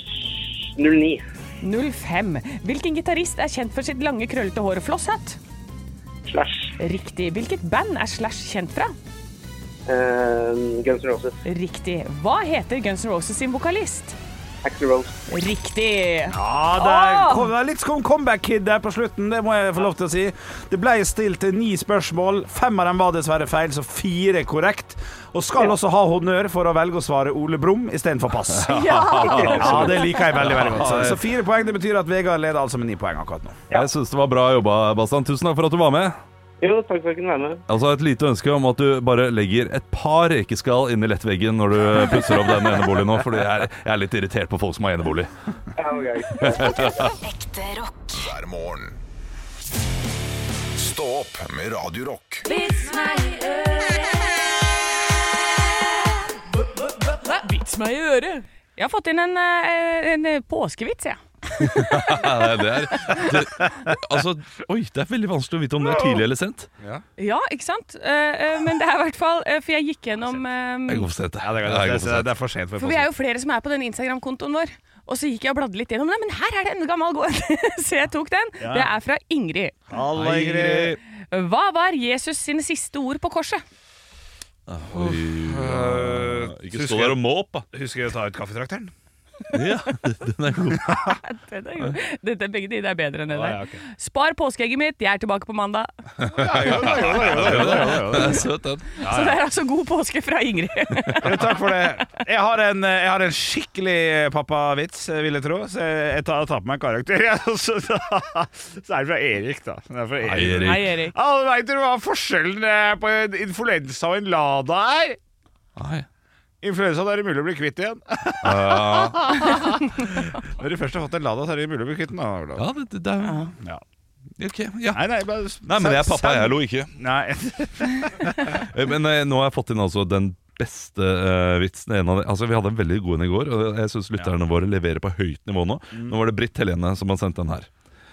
Speaker 8: 09.
Speaker 4: 05. Hvilken gitarist er kjent for sitt lange, krøllete hår og flosshatt?
Speaker 8: Slash.
Speaker 4: Riktig. Hvilket band er Slash kjent fra?
Speaker 8: Eh, Guns N' Roses.
Speaker 4: Riktig. Hva heter Guns N' Roses sin vokalist?
Speaker 8: Axl Rose.
Speaker 4: Riktig.
Speaker 2: Ja, der
Speaker 4: Åh!
Speaker 2: kom, det er litt sånn comeback-kid der på slutten, det må jeg få lov til å si. Det ble stilt ni spørsmål, fem av dem var dessverre feil, så fire korrekt. Og skal også ha honnør for å velge å svare Ole Brumm istedenfor [LAUGHS] pass. Ja, det liker jeg veldig veldig godt. Så, så fire poeng det betyr at Vegard leder altså med ni poeng akkurat nå.
Speaker 3: Jeg syns det var bra jobba, Bastian. Tusen takk for at du var med.
Speaker 8: Jo, takk for at jeg kunne være med.
Speaker 3: Altså Et lite ønske om at du bare legger et par rekeskall inn i lettveggen når du eh, pusser opp den eneboligen nå, for jeg, er- jeg er litt irritert på folk som har enebolig.
Speaker 8: Ja, okay.
Speaker 5: Ekte rock.
Speaker 1: hver morgen. Stå opp med Radio Rock.
Speaker 4: Vits meg i øret. Jeg har fått inn en, eh, en påskevits, jeg.
Speaker 3: Ja, det er, det, altså, oi, det er veldig vanskelig å vite om det er tidlig eller sent.
Speaker 4: Ja, ikke sant? Eh, eh, Men det er i hvert fall eh, For jeg gikk gjennom
Speaker 3: Jeg
Speaker 4: eh,
Speaker 3: går for sent. jeg.
Speaker 2: det,
Speaker 3: Jeg går for sent.
Speaker 2: er for sent
Speaker 4: For vi er jo flere som er på den Instagram-kontoen vår. Og så gikk jeg og bladde litt gjennom den, men her er det en gammel god en! [LAUGHS] Så jeg tok den. Det er fra Ingrid. Hva var Jesus sine siste ord på korset? [LAUGHS]
Speaker 3: Ikke stå der og måp, da.
Speaker 2: Husker jeg å ta ut kaffetrakteren?
Speaker 3: [LAUGHS] Ja, den er god.
Speaker 4: Den er jo- Dette er begge de, det er bedre enn det
Speaker 2: Å, ja,
Speaker 4: der.
Speaker 2: ok.
Speaker 4: Spar påskeegget mitt, jeg er tilbake på mandag. [LAUGHS]
Speaker 3: [LAUGHS] Den er søt, den.
Speaker 4: Så det er altså god påske fra
Speaker 3: [LAUGHS]
Speaker 4: Ingrid.
Speaker 2: Jo, takk for det. Jeg har en, eh, jeg har en skikkelig eh, pappavits, vil jeg tro. Så jeg jeg tar, tar på meg en karakter. [LAUGHS] ja, og Så, da, så er det fra Erik, da. Det er fra Erik.
Speaker 4: Hei, Erik. [LAUGHS]
Speaker 2: Alle veit dere hva forskjellen eh, på en influensa og en lada er?
Speaker 3: Nei.
Speaker 2: Influensaen er det mulig å bli kvitt igjen. Når du først har fått en lada, så er det mulig å bli kvitt den. da, Olav.
Speaker 3: Ja, det, det, det er
Speaker 2: Ja.
Speaker 3: Ok, ja.
Speaker 2: Nei, nei, bare,
Speaker 3: Nei, men jeg er pappa, jeg
Speaker 2: lo.
Speaker 3: lo ikke.
Speaker 2: Nei. [LAUGHS]
Speaker 3: Eh, Men eh, nå har jeg fått inn altså den beste eh, vitsen. En av de, altså, vi hadde en veldig god en i går, og jeg syns lytterne våre leverer på høyt nivå nå. Nå var det Britt Helene som har sendt den her.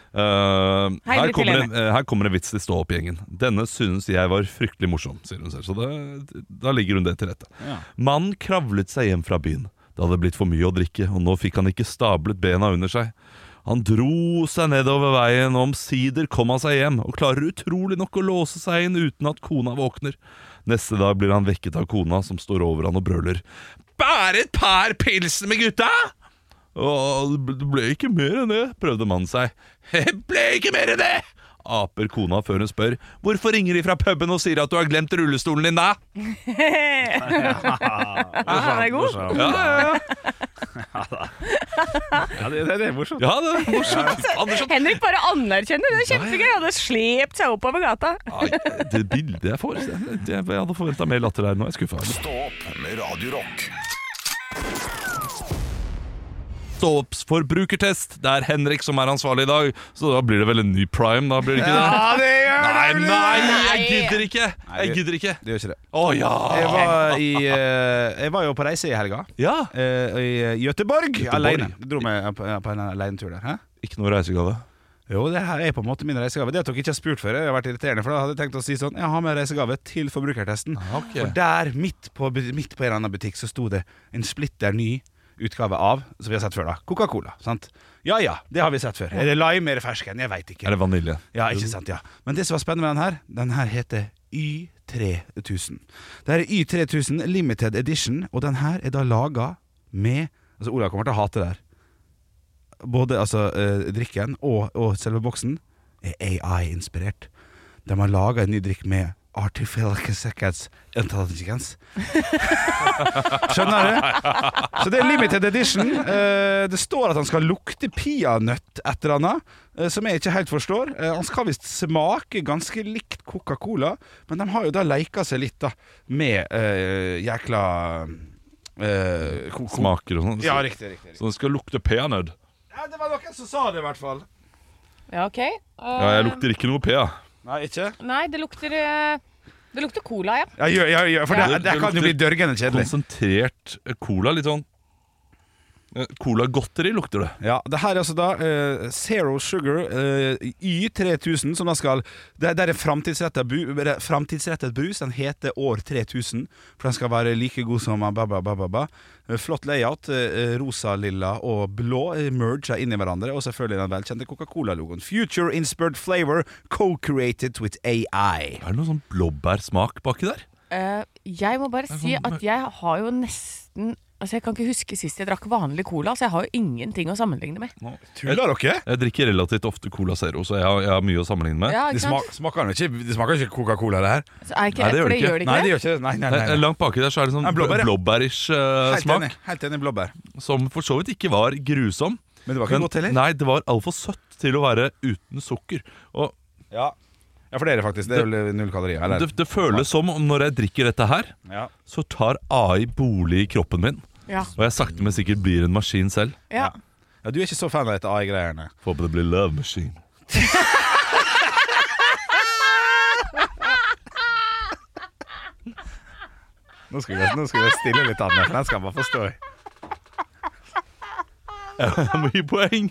Speaker 3: Eh,
Speaker 4: Hei,
Speaker 3: her,
Speaker 4: Britt
Speaker 3: kommer en,
Speaker 4: Helene.
Speaker 3: eh, her kommer en vits til stå-opp-gjengen. Denne synes jeg var fryktelig morsom, sier hun selv. Så det, da legger hun det til rette. Mannen kravlet seg hjem fra byen. Det hadde blitt for mye å drikke, og nå fikk han ikke stablet bena under seg. Han dro seg nedover veien, og omsider kom han seg hjem, og klarer utrolig nok å låse seg inn uten at kona våkner. Neste dag blir han vekket av kona, som står over han og brøler. Bare et par pilser med gutta! Og det ble ikke mer enn det, prøvde mannen seg. [LAUGHS] Det ble ikke mer enn det! Aper kona før hun spør. Hvorfor ringer de fra puben og sier at du har glemt rullestolen din, da?
Speaker 2: Ah,
Speaker 9: den er god.
Speaker 2: Morsomt.
Speaker 3: Ja, ja, ja.
Speaker 2: Ja, det, det, det er morsomt.
Speaker 3: Ja, det er morsomt. Andersson.
Speaker 9: Henrik bare anerkjenner det. er Kjempegøy. Han hadde slept seg oppover gata.
Speaker 3: Ai, Det bildet jeg får det, det, Jeg hadde forventa mer latter der. Nå er jeg skuffa.
Speaker 1: Stå opp med Radio Rock.
Speaker 3: Ståopps forbrukertest. Det er Henrik som er ansvarlig i dag, så da blir det vel en ny prime, da? Blir det ikke det?
Speaker 2: det gjør
Speaker 3: Nei, nei, jeg gidder ikke! Jeg gidder ikke.
Speaker 2: Det gjør ikke det.
Speaker 3: Å ja!
Speaker 2: Jeg var, i, eh, jeg var jo på reise i helga.
Speaker 3: Ja!
Speaker 2: eh, I Gøteborg, alene. Dro meg på, på en alenetur der. Hæ?
Speaker 3: Ikke noe reisegave.
Speaker 2: Jo, det her er på en måte min reisegave. Det at dere ikke har spurt før, det har vært irriterende. For da hadde jeg tenkt å si sånn Jeg har med reisegave til forbrukertesten.
Speaker 3: Ah, ok.
Speaker 2: Og der, midt på, bu- midt på en eller annen butikk, så sto det en splitter ny utgave av, som vi har sett før, da. Coca-Cola. Sant? Ja ja, det har vi sett før. Er det lime, er det fersken? Jeg veit ikke.
Speaker 3: Er det vanilje?
Speaker 2: Ja, ikke sant, ja Men det som var spennende med den her Den her heter Y3000 Det her er Y3000 Limited Edition Og den her er da laget med Altså, Ola kommer til å hate det her Både altså, eh, drikken og, og selve boksen Er AI-inspirert De har laget en ny drikk med Artificial Seconds Intelligence [LAUGHS] Skjønner du? Så det er limited edition. Eh, det står at han skal lukte peanøtt et eller annet, eh, som jeg ikke helt forstår. Eh, han skal visst smake ganske likt Coca-Cola, men de har jo da leika seg litt da med eh, jækla eh, ko- ko-
Speaker 3: Smaker og sånn?
Speaker 2: Ja, riktig, riktig. riktig.
Speaker 3: Så den skal lukte peanøtt?
Speaker 2: Ja, det var noen som sa det, i hvert fall.
Speaker 9: Ja, ok. Eh,
Speaker 3: Ja, jeg lukter ikke noe pea.
Speaker 2: Nei, ikke?
Speaker 9: Nei, det lukter eh, Det lukter cola, ja.
Speaker 2: Ja, gjør, gjør, gjør, for
Speaker 3: Ja.
Speaker 2: det, det kan jo bli dørgende kjedelig.
Speaker 3: Konsentrert cola, litt sånn eh, Cola-godteri lukter det.
Speaker 2: Ja, det her er altså da eh, Zero Sugar eh, Y3000, som da skal Det, det er framtidsrettet, bu, eller framtidsrettet brus. Den heter År 3000, for den skal være like god som ba, ba, ba, ba, ba. Eh, Flott layout. eh, rosa, lilla og blå eh, merger inn i hverandre. Og selvfølgelig den velkjente Coca-Cola-logoen. Future inspired flavor co-created with AI.
Speaker 3: Er det noe sånn blåbærsmak baki der?
Speaker 9: Eh, jeg må bare si at jeg har jo nesten Altså Jeg kan ikke huske sist jeg drakk vanlig cola, så jeg har jo ingenting å sammenligne med.
Speaker 2: Tuller dere?
Speaker 3: Jeg drikker relativt ofte Cola Zero, så jeg har, jeg har mye å sammenligne med.
Speaker 9: Ja,
Speaker 2: Det
Speaker 9: ikke sant?
Speaker 2: smak- smaker jo ikke, det smaker ikke Coca-Cola, det her.
Speaker 9: Så er ikke,
Speaker 3: Nei, det gjør
Speaker 9: for det
Speaker 3: det ikke.
Speaker 9: gjør det ikke.
Speaker 2: Nei, det gjør ikke det. Nei, nei, nei,
Speaker 3: Eh,
Speaker 2: nei.
Speaker 3: Langt baki der så er det sånn
Speaker 2: Ja, blåbær, ja.
Speaker 3: blåbærish eh,
Speaker 2: Helt
Speaker 3: smak,
Speaker 2: enig. Helt enig blåbær.
Speaker 3: som for så vidt ikke var grusom.
Speaker 2: Men det var ikke
Speaker 3: Men-
Speaker 2: godt heller.
Speaker 3: Nei, det var altfor søtt til å være uten sukker. Og
Speaker 2: Ja. for det er det faktisk. Det er vel null kalorier. Eller?
Speaker 3: det, det føles som om når jeg drikker dette her,
Speaker 2: ja.
Speaker 3: så tar AI bolig i kroppen min.
Speaker 9: Ja.
Speaker 3: Og jeg sakte, men sikkert blir en maskin selv.
Speaker 9: Ja.
Speaker 2: ja, Du er ikke så fan av dette AI-greiene.
Speaker 3: Får håpe det blir love machine. [LAUGHS]
Speaker 2: Nå skal vi, nå skal vi stille litt an, for den skal man forstå.
Speaker 3: Mye poeng.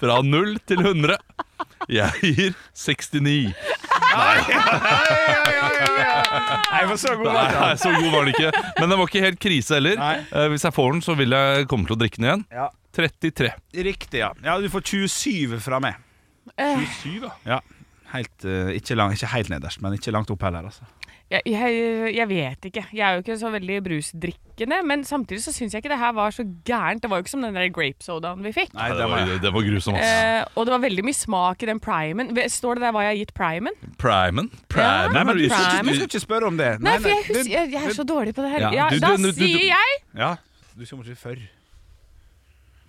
Speaker 3: Fra 0 til 100. Jeg gir 69.
Speaker 2: Jeg var så god
Speaker 3: Nei, nei, så god var den ikke. Men den var ikke helt krise heller.
Speaker 2: Nei.
Speaker 3: Eh, hvis jeg får den, så vil jeg komme til å drikke den igjen.
Speaker 2: Ja.
Speaker 3: 33.
Speaker 2: Riktig, ja. Ja, Du får 27 fra meg. 27, ja? Helt, eh, ikke, lang, ikke helt nederst, men ikke langt opp heller. Altså.
Speaker 9: Jeg, jeg, jeg vet ikke. Jeg er jo ikke så veldig brusdrikkende. Men samtidig så syns jeg ikke det her var så gærent. Det var jo ikke som den der grape sodaen vi fikk.
Speaker 2: Nei,
Speaker 3: det, var, det var grusom, ass.
Speaker 9: Eh, og det var veldig mye smak i den primen. Ve- Står det der hva jeg har gitt primen?
Speaker 3: Primen?
Speaker 9: Ja.
Speaker 3: Primen?
Speaker 9: men
Speaker 2: du, skal
Speaker 9: Nei,
Speaker 2: ikke,
Speaker 9: men-
Speaker 2: du skal ikke spørre om det.
Speaker 9: Nei, for jeg,
Speaker 2: du-
Speaker 9: husker, jeg, jeg er så dårlig på det her.
Speaker 3: Ja,
Speaker 9: Ja,
Speaker 3: du-
Speaker 9: da
Speaker 3: du- du- du-
Speaker 9: sier jeg
Speaker 2: Ja, du kommer ikke før.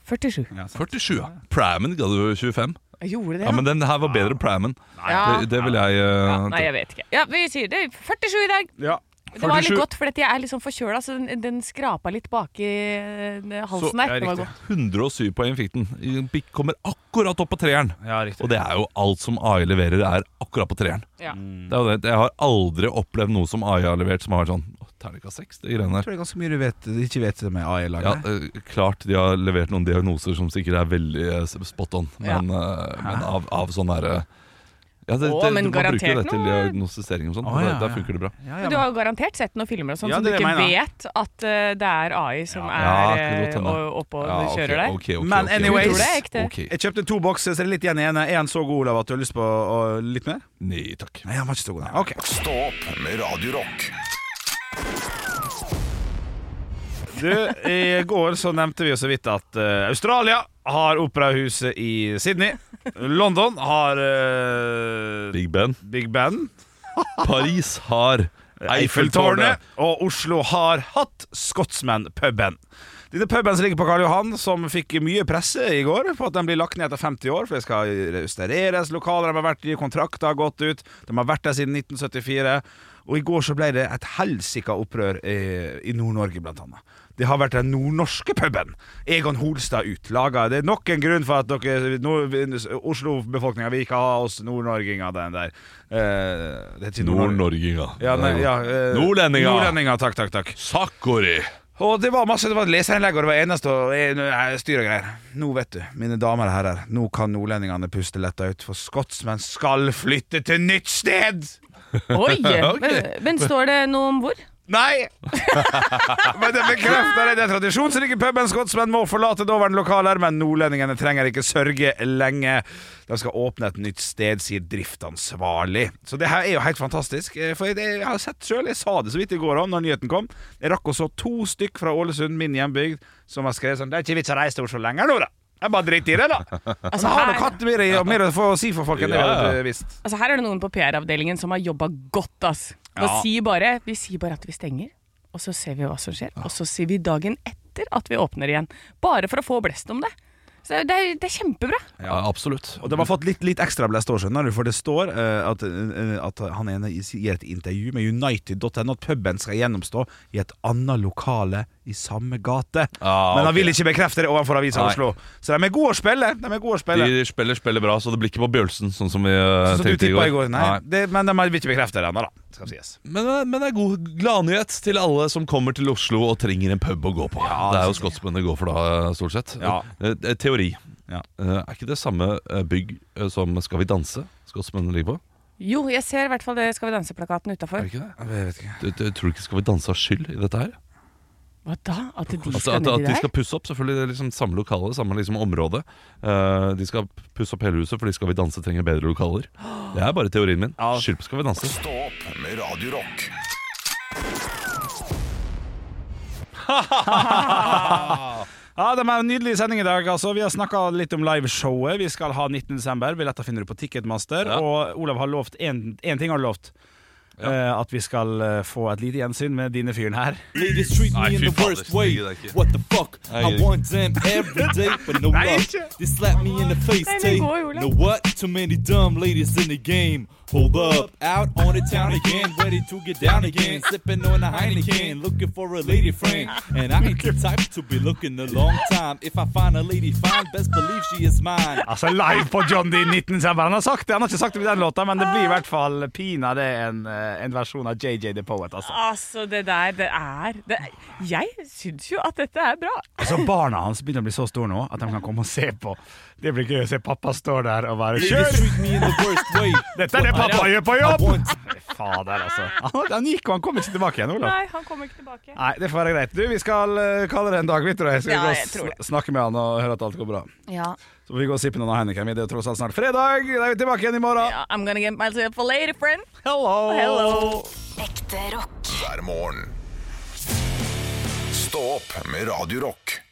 Speaker 9: 47.
Speaker 2: Ja, sant.
Speaker 3: 47, ja. Primen ga du 25.
Speaker 9: Jeg gjorde det,
Speaker 3: Ja,
Speaker 9: ja.
Speaker 3: Men den her var bedre primen.
Speaker 9: Ja.
Speaker 3: Det, det vil jeg eh,
Speaker 9: Nei, jeg vet ikke. Ja, vi sier det. 47 i dag.
Speaker 2: Ja.
Speaker 9: Det var
Speaker 3: 47.
Speaker 9: litt godt, for jeg er litt sånn forkjøla, så den, den skrapa litt baki eh,
Speaker 3: Så-
Speaker 9: halsen der.
Speaker 2: ja,
Speaker 9: Det var
Speaker 2: riktig.
Speaker 9: godt.
Speaker 3: 107 poeng fikk den. Bikk kommer akkurat opp på treeren.
Speaker 2: ja, riktig.
Speaker 3: Og det er jo alt som AI leverer, er akkurat på treeren.
Speaker 9: Ja.
Speaker 3: Det er jo det. Jeg har aldri opplevd noe som AI har levert som har vært sånn «Å, Terningkast seks, de greiene
Speaker 2: Jeg
Speaker 3: der.
Speaker 2: tror det er ganske mye du vet, ikke vet med
Speaker 3: Ja,
Speaker 2: AI-laget.
Speaker 3: eh, klart de har levert noen diagnoser som sikkert er veldig eh, spot on, men, eh, men av, av sånn derre Ja, det,
Speaker 9: Å,
Speaker 3: det,
Speaker 9: men
Speaker 3: man bruker jo
Speaker 9: garantert
Speaker 3: det til
Speaker 9: noe-
Speaker 3: diagnostisering og sånn.
Speaker 2: Å, ja,
Speaker 3: Da, da
Speaker 2: ja.
Speaker 3: funker det bra.
Speaker 2: Ja, ja,
Speaker 9: Men du har jo garantert sett noen filmer og sånn
Speaker 2: Ja,
Speaker 9: som du
Speaker 2: det er
Speaker 9: ikke
Speaker 2: meg, da.
Speaker 9: vet at eh, det er AI som
Speaker 3: Ja,
Speaker 9: er
Speaker 3: det
Speaker 9: eh,
Speaker 3: kan godt hende.
Speaker 9: og- oppå
Speaker 3: Ja,
Speaker 9: og
Speaker 3: ok,
Speaker 9: kjører der.
Speaker 3: ok, ok,
Speaker 2: Men
Speaker 3: ok, ok.
Speaker 9: Du
Speaker 2: anyways-
Speaker 9: tror det er ekte?
Speaker 3: Ok.
Speaker 2: Jeg kjøpte to bokser, så er det litt igjen i ene. Er han så god, Olav, at du har lyst på å- litt mer?
Speaker 3: Nei takk.
Speaker 2: Nei, han var ikke så god. Nei. Ok.
Speaker 1: Stå opp med Radio Rock.
Speaker 2: Du, I går så nevnte vi jo så vidt at eh, Australia har operahuset i Sydney. London har eh,
Speaker 3: Big Ben.
Speaker 2: Big Ben.
Speaker 3: Paris har
Speaker 2: Eiffeltårnet. Og Oslo har hatt Scotsman-puben. Denne puben som ligger på Karl Johan, som fikk mye presse i går på at den blir lagt ned etter 50 år, for det skal restaureres, lokaler de har vært i, kontrakter har gått ut, de har vært der siden 1974. Og i går så ble det et helsika opprør i, i Nord-Norge, blant annet. Det har vært den nordnorske puben. Egon Holstad ut. Laga. Det er nok en grunn for at dere nord, Oslo-befolkninga vil ikke ha oss nordnorginger, den der. Eh, det er ikke Nord-Norge.
Speaker 3: Nord-Norginga.
Speaker 2: Ja, nei, ja, eh,
Speaker 3: Nordlendinger.
Speaker 2: Nordlendinger, takk, takk, takk
Speaker 3: Sakori!
Speaker 2: Og det var masse, det var leserinnlegg Og det var eneste og, eh, styr og greier Nå vet du, mine damer og herrer Nå kan nordlendingene puste letta ut For skotsmenn skal flytte til nytt sted
Speaker 9: [LAUGHS] Oi!
Speaker 3: Ok.
Speaker 9: men, men står det noe om hvor?
Speaker 2: Nei! [LAUGHS] men det bekrefter det. Det er tradisjon som ligger i puben. Skotsmenn må forlate daværende lokaler, men nordlendingene trenger ikke sørge lenge. De skal åpne et nytt sted, sier driftsansvarlig. Så det her er jo helt fantastisk. eh, For jeg, jeg har sett sjøl, jeg sa det så vidt i går òg, når nyheten kom. Jeg rakk også to stykk fra Ålesund, min hjembygd, som har skrevet sånn Det er ikke vits å reise til Oslo lenger nå, da. Jeg bare driter i det, da. Altså, har dere
Speaker 9: her-
Speaker 2: hatt mer, i- mer å få si for folk enn det jeg
Speaker 3: Ja.
Speaker 2: hadde visst?
Speaker 9: Altså Her er det noen på PR-avdelingen som har jobba godt. ass Nå
Speaker 2: Ja.
Speaker 9: sier bare, Vi sier bare at vi stenger, og så ser vi hva som skjer. Og så sier vi dagen etter at vi åpner igjen. Bare for å få blest om det. Så det er, det er kjempebra.
Speaker 3: Ja, absolutt.
Speaker 2: Og de har fått litt, litt ekstra blest år, skjønner du, for det står eh, at, eh, at han ene gir et intervju med United.no at puben skal gjennomstå i et annet lokale i samme gate.
Speaker 3: Ah,
Speaker 2: Men han
Speaker 3: ok.
Speaker 2: vil ikke bekrefte det overfor Avisa
Speaker 3: Nei.
Speaker 2: Oslo. Så de er gode å spille. De er gode å spille.
Speaker 3: De spiller spiller bra, så det blir ikke på Bjølsen, sånn som vi eh,
Speaker 2: Sånn som du
Speaker 3: tenkte i
Speaker 2: tippa
Speaker 3: går.
Speaker 2: i går. Nei,
Speaker 3: Nei.
Speaker 2: Det, men de vil ikke bekrefte det ennå, da. Skal sies.
Speaker 3: Men, eh, men det er god gladnyhet til alle som kommer til Oslo og trenger en pub å gå på. det er jo skotsmenn det går for da, eh, stort sett.
Speaker 2: Ja.
Speaker 3: Eh, eh, Teori.
Speaker 2: Ja.
Speaker 3: Eh, Er ikke det samme eh, bygg eh, som Skal vi danse? Skotsmennene ligger på?
Speaker 9: Jo, jeg ser i hvert fall det Skal vi danse-plakaten
Speaker 3: Er
Speaker 9: utafor.
Speaker 3: det ikke det?
Speaker 2: Jeg vet ikke.
Speaker 3: Du, du, tror du ikke Skal vi danse har skyld i dette her?
Speaker 9: Hva da? At de
Speaker 3: Altså,
Speaker 9: skal
Speaker 3: at, at
Speaker 9: ned i
Speaker 3: de
Speaker 9: der?
Speaker 3: skal pusse opp, selvfølgelig. Det er liksom samme lokale, samme liksom område. Eh, de skal pusse opp hele huset, fordi Skal vi danse trenger bedre lokaler. Det er bare teorien min.
Speaker 2: Ja.
Speaker 3: Skyld på Skal vi danse.
Speaker 1: Stå opp med Radio Rock.
Speaker 2: Ja, det er en nydelig sending i dag. altså Vi har snakka litt om liveshowet. Vi skal ha 19.12. Billetter finner du på Ticketmaster.
Speaker 3: Ja.
Speaker 2: Og Olav har lovt én ting. har du lovt Eh, At vi skal eh, få et lite gjensyn med dine fyren her.
Speaker 10: Niggas treat
Speaker 3: Nei,
Speaker 10: me in
Speaker 3: fy
Speaker 10: the
Speaker 3: fader,
Speaker 10: worst way.
Speaker 3: det gidder jeg ikke.
Speaker 10: What the fuck?
Speaker 3: gidder
Speaker 10: I
Speaker 3: ikke.
Speaker 10: want them every day, but no
Speaker 2: Nei,
Speaker 10: love.
Speaker 2: ikke.
Speaker 10: They slap me in the face,
Speaker 9: Nei, det
Speaker 10: Tay.
Speaker 9: går jo, Olav.
Speaker 10: Know what? Too many dumb ladies in the game. Hold up, out on the town again, ready to get down again. Sipping on a Heineken, looking for a lady friend. And I ain't the type to be looking a long time. If I find a lady fine, best believe she is mine.
Speaker 2: Altså live på John D. 19.12. Han har sagt det, han har ikke sagt det med den låta, men det blir i hvert fall pinadø en, eh, en versjon av JJ The Poet. Altså.
Speaker 9: Altså, det der, det er det, Jeg syns jo at dette er bra.
Speaker 2: Altså Barna hans begynner å bli så store nå at de kan komme og se på. Det blir gøy å se pappa stå der og bare
Speaker 10: Niggas
Speaker 2: Kjør!
Speaker 10: treat me in the worst way.
Speaker 2: Dette er det
Speaker 10: What the
Speaker 2: pappa gjør på jobb!
Speaker 10: I want
Speaker 2: Fader, altså. Han- Han gikk, og han kom ikke tilbake igjen, Olav.
Speaker 9: Nei, han kommer ikke tilbake.
Speaker 2: Nei, det får være greit. Du, Vi skal eh, kalle det en dag, vi, tror jeg. Skal
Speaker 9: Ja,
Speaker 2: gå
Speaker 9: jeg
Speaker 2: og
Speaker 9: tror
Speaker 2: sn- snakke med han og høre at alt går bra.
Speaker 9: Ja.
Speaker 2: Så får vi gå og sippe noen av Heineken. Det er jo tross alt snart fredag. Da er vi tilbake igjen i morgen.
Speaker 9: I'm gonna get myself a lady friend.
Speaker 2: Hello!
Speaker 9: Hello.
Speaker 5: Ekte rock.
Speaker 1: hver morgen. Stå opp med Radio Rock.